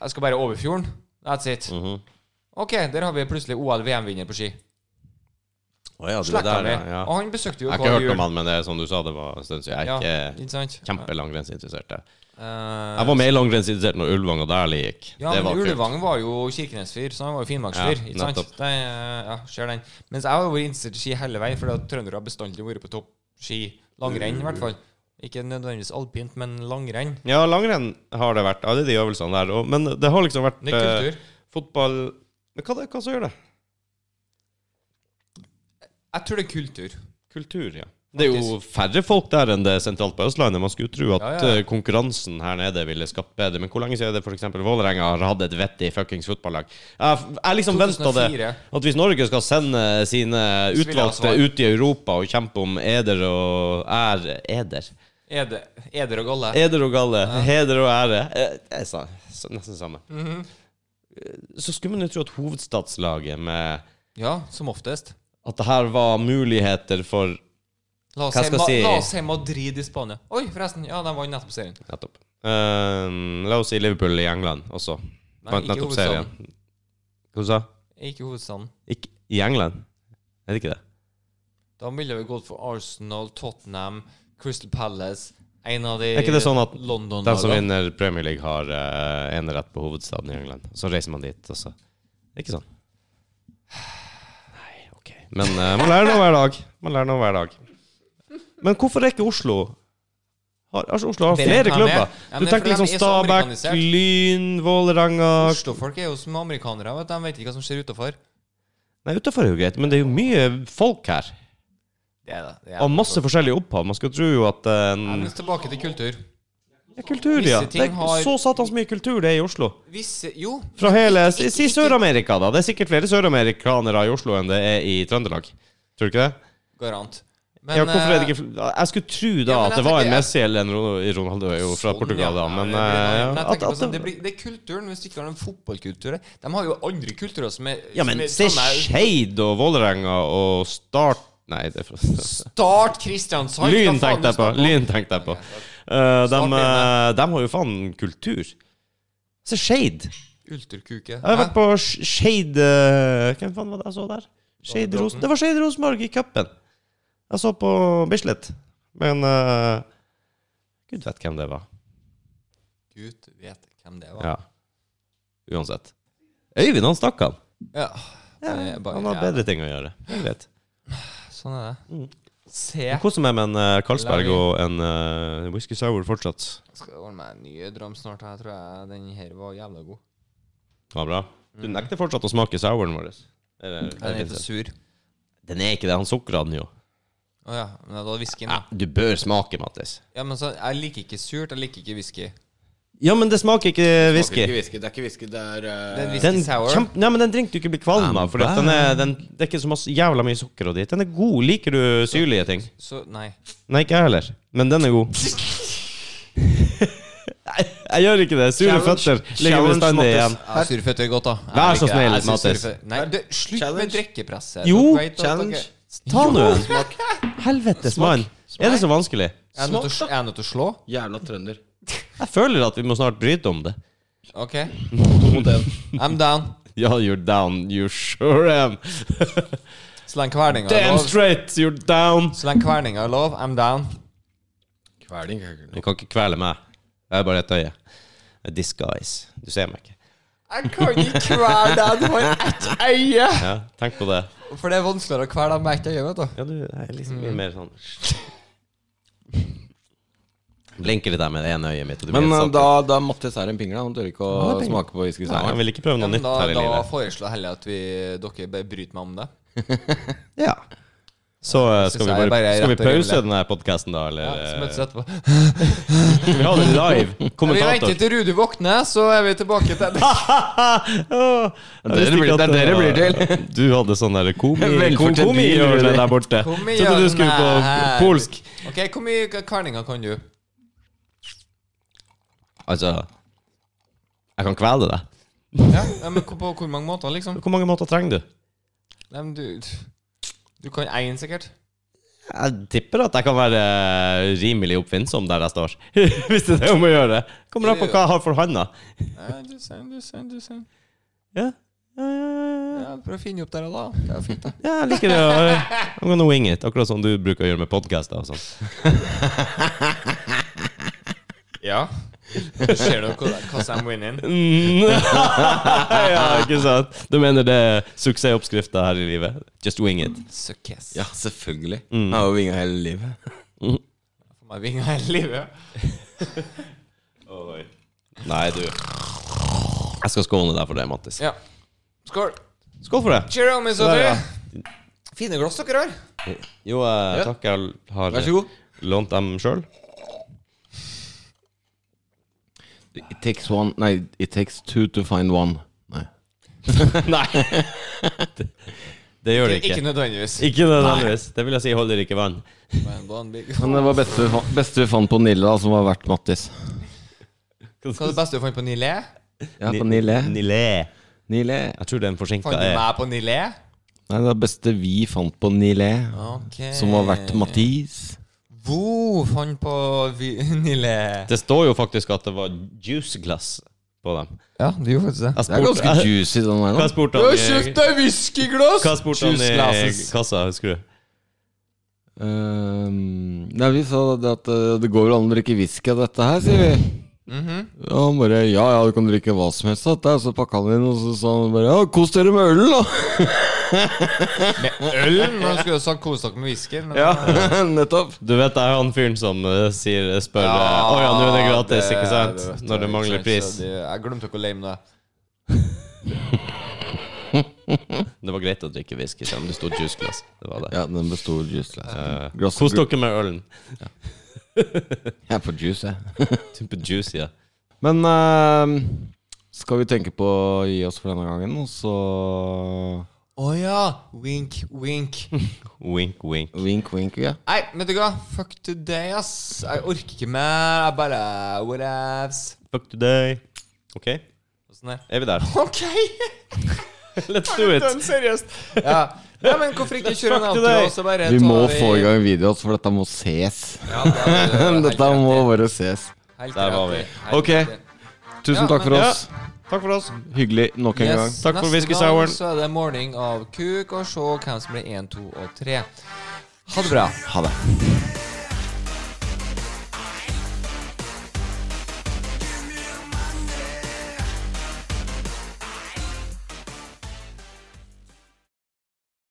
Jeg skal bare over fjorden. That's it. Mhm. OK, der har vi plutselig OL-VM-vinner på ski. Å ja, du er Slekta der, mi. ja. ja. Og han besøkte jo Jeg har ikke hørt om han, men det er som du sa, det var en stund siden. Jeg Ja, er ikke ikke sant? Eh, kjempelangrennsinteressert. jeg. Jeg var mer langrennsidrettsutstyrt når Ulvang og Dæhlie gikk. Ja, det men var kult. Ulvang var jo kirkenesfyr, så han var jo finnmarksfyr. Ja, ikke sant? nettopp. Det, eh, ja, ser den. Mens jeg har jo vært innstilt ski hele veien, for trøndere har bestandig vært på topp ski. Langrenn, i hvert fall. Ikke nødvendigvis alpint, men langrenn. Ja, langrenn har det vært. Alle de øvelsene der. Og, men det har liksom vært Det er eh, kultur. fotball Men hva, det- hva som gjør det? Jeg tror det er kultur. Kultur, ja. Det er jo færre folk der enn det er sentralt på Østlandet. Man skulle tro at Ja, ja, ja. eh, konkurransen her nede ville skapt bedre. Men hvor lenge siden er det f.eks. Vålerenga har hatt et vettig fuckings fotballag? Jeg, f- jeg liksom venta det. 2004. At hvis Norge skal sende sine Så vil jeg ha utvalgte svar. ut i Europa og kjempe om eder og ære Eder? Eder, eder og galle. Eder og galle. Heder og ære. Eh, Det er sa- s- nesten samme. Mhm. Eh, Så skulle man jo tro at hovedstadslaget med Ja, som oftest. At det her var muligheter for La oss, Hva si, skal jeg Ma- si? la oss si Madrid i Spania. Oi, forresten. Ja, de vant nettopp serien. Nettopp. Ehm, la oss si Liverpool i England også. Nei, Vant ikke nettopp serien. hovedstaden. Hva du sa Ikke hovedstaden. Ikke I England? Er det ikke det? Da ville vi gått for Arsenal, Tottenham, Crystal Palace En av de Er ikke det sånn at london Den som vinner Premier League, har eh, enerett på hovedstaden i England. Så reiser man dit, og så Det er Ikke sånn. Nei, OK. Men eh, man lærer noe hver dag. Man lærer noe hver dag. Men hvorfor er ikke Oslo har, altså Oslo har Bedre enn flere han er. klubber. Ja, Du men for tenker de liksom er så Stabæk, amerikanisert. Lyn, Vålerenga Oslofolk er jo som amerikanere. Vet du. De vet ikke hva som skjer utafor. Nei, utafor er jo greit, men det er jo mye folk her. Det er det. det er Og masse forskjellig opphav. Man skulle tro jo at eh, det. en- Men tilbake til kultur. ja, Kultur, ja. Visse Det ting er har- så satans mye kultur det er i Oslo. Visse Jo, Fra hele Si si Sør-Amerika, da. Det er sikkert flere søramerikanere i Oslo enn det er i Trøndelag. Tror du ikke det? garant. eh, ja, hvorfor er det ikke fl- Jeg skulle tro da ja, men at jeg det var en tenker- Sånn, Messi eller en Ro- Ronaldo er jo fra Portugal, da, men eh, at, at, at sånn, det, det, blir, det er kulturen, hvis du ikke har den fotballkulturen. De har jo andre kulturer som er Ja, men som er se samme- Skeid og Vålerenga og Start Nei, det er fra Start Kristiansand! Lyn hva faen tenkte jeg på. du snakker om? Lyn tenkte jeg på. Eh, de, Start igjen, eh, de har jo faen kultur. Se Skeid. Ulterkuke. Jeg har Hæ? vært på Sh- Skeid eh, Hvem faen var det jeg så der? Skeid Ros- Det var Skeid Rosenborg i cupen. Jeg så på Bislett. Men eh, Gud vet hvem det var. Gud vet hvem det var. Ja. Uansett. Øyvind, han stakk han. Ja. Ja, Det er bare- han har bedre ting å gjøre. Det er greit. Sånn er det. Se. Men Hvordan er det med en eh, Carlsberg og en eh, whisky sour fortsatt? Skal ordne meg en ny dram snart. Jeg tror jeg den her var jævla god. Det var bra. Du nekter fortsatt å smake souren vår. Eller- Den er Vincent? for sur. Den er ikke det. Han sukrer den jo. Å ja. Men da er whiskyen, Ja, da. du bør smake, Mattis. Ja, men så, jeg liker ikke surt. Jeg liker ikke whisky. Ja, men det smaker ikke Det er whisky. ikke whisky, det er ikke whisky, det er eh, Den whisky Den, sour. kjempe, nei, men den drink du ikke blir kvalm av. For den er, den, det er ikke så masse, jævla mye sukker og dritt. Den er god. Liker du syrlige ting? Så nei. Nei, ikke jeg heller. Men den er god. Nei, jeg gjør ikke det. Sure Challenge. føtter ligger Challenge, bestandig Mattis. igjen. Ja, surføtter er godt, da. Jeg Vær så liker det. snill, Jeg synes Mattis. surføtter- Nei, du, slutt Challenge. med drikkepresset. Jo, Dere vet at challenge. dere- Ta nå en. Helvetes mann. Er det så vanskelig? Jeg er nødt til å- jeg er nødt til å slå. jævla trønder. Jeg føler at vi må snart bryte om det. OK. To mot en. I'm down. Ja, you're down. You sure am. Så lenge kverninga er Damn lov. straight, you're down. Så lenge kverninga er lov, I'm down. Kveling. Du kan ikke kvele meg. Det er bare et øye. A disguise. Du ser meg ikke. Jeg kan ikke kvele deg, du har ett øye! Ja, tenk på det. For det er vanskeligere å kvele deg med ett øye, vet du. Ja, du er liksom mye mer sånn Blinker litt der med det ene øyet mitt. Og du Men blir eh, helt da, satt ut. da Mattis er en pingle. Han tør ikke å Ja, det er pingle. smake på whisky Nei, sour. jeg vil ikke prøve noe Men nytt da, her i da livet. foreslår jeg heller at vi, dere bare bryter meg om det. Ja. Så eh, skal synes vi jeg bare, bare er Skal vi rett og pause rimelig. denne podkasten, da? Eller Ja, så møtes vi eh, etterpå. skal vi ha det live? Vi venter Kommentator. til Rudi våkner, så er vi tilbake til Åh, jeg Det er visste det ikke blir- at det er det var- det Du hadde sånn derre komi... Velfortjent Komihjørne hvil. der borte. Trodde du skulle på polsk. OK, hvor mye kverninger kan du? Altså Jeg kan kvele deg. Ja, ja, men hvor- På hvor mange måter, liksom? Hvor mange måter trenger du? Nei, men du, du kan én, sikkert. Jeg tipper at jeg kan være eh, rimelig oppfinnsom der jeg står. Hvis det er det om å gjøre. Kommer an på hva jeg har for handa. Ja, du ser, du ser, du ser. Ja. Ja, ja, ja, ja. Ja, Prøv å finne opp der og da. Det er fint, det. ja, jeg liker det. I'm gonna wing it. Akkurat som du bruker å gjøre med podkaster og sånn. Ja. Ser dere hva hva som er winning? Mm. ja, ikke sant? Du mener det er suksessoppskrifta her i livet? Just wing it. Suckes. Ja, selvfølgelig. Jeg har jo vinga hele livet. For meg vinga hele livet. Nei, du. Jeg skal skåne deg for det, Mattis. Ja. Skål. Skål for det! Cheerio, min Der, ja. søster. Fine glass dere har. Jo, eh, Ja. takk. Jeg har eh, Vær så god. lånt dem sjøl. It takes one Nei, it takes two to find one. Nei. Nei! Det, det gjør det Ikke ikke. nødvendigvis. Ikke nødvendigvis. Det vil jeg si holder ikke vann. Men da er den big. Men det var beste, vi fa- beste vi fant på Nille, da, som var verdt Mattis. Hva er det beste du fant på Nille? Ja, på Nille. Nilé. Nille. Jeg tror den forsinka Fant du er meg på Nille? Nei, det var beste vi fant på Nille, Ok. som var verdt Mattis. Hvor fant på vi, Nille? Det står jo faktisk at det var juiceglass på dem. Ja, du gjorde faktisk det. Jeg Det er spurte- ganske juicy, den der. Hva da. spurte Du har han i kjøpt deg whiskyglass! Hva spurte han i Juiceglasses. kassa, husker du? Ehm, nei, vi sa det at eh, det går vel an å drikke whisky av dette her, sier vi. Mhm. Og han bare Ja, ja, du kan drikke hva som helst av dette. her." Så pakka han inn, og så sa han bare Ja, kos dere med ølen, da. Øl? Man skulle jo sagt kos dere med whisky. Men Nettopp. Du vet, det er jo han fyren som eh, sier, spør ja, Å ja, nå er det gratis, ikke sant? vet jeg, Når det mangler ikke sant, pris. så det- Jeg glemte ikke å lame det. Det var greit å drikke whisky selv om det sto juiceglass. Det var det. Ja, den besto av juice. Uh, Kos dere med ølen. Jeg er på juice, jeg. Type juice, ja. Men ehm, skal vi tenke på å gi oss for denne gangen, og så Å ja! Wink, wink. Wink, wink. Wink, wink, ja. Nei, vet du hva? Fuck today, ass. Jeg orker ikke mer. Jeg bare Whatevs. Fuck today. OK, er Og sånn der. vi der? OK! Let's do it. Den, seriøst. Ja. Nei, men hvorfor ikke kjøre en Fuck outro, today. og så bare Vi tar må vi- få i gang videoen, altså, for dette må ses. Ja, det er- det er helt Dette rett i. må bare ses. Helt Der var rett i. vi. Helt Ok. rett i. Tusen Ja, takk for men- oss. Takk for oss. Hyggelig nok en gang. Yes, Takk for neste whisky gang souren. Så er det måling av kuk, og se hvem som blir 1, 2 og 3. Ha det bra. Ha det.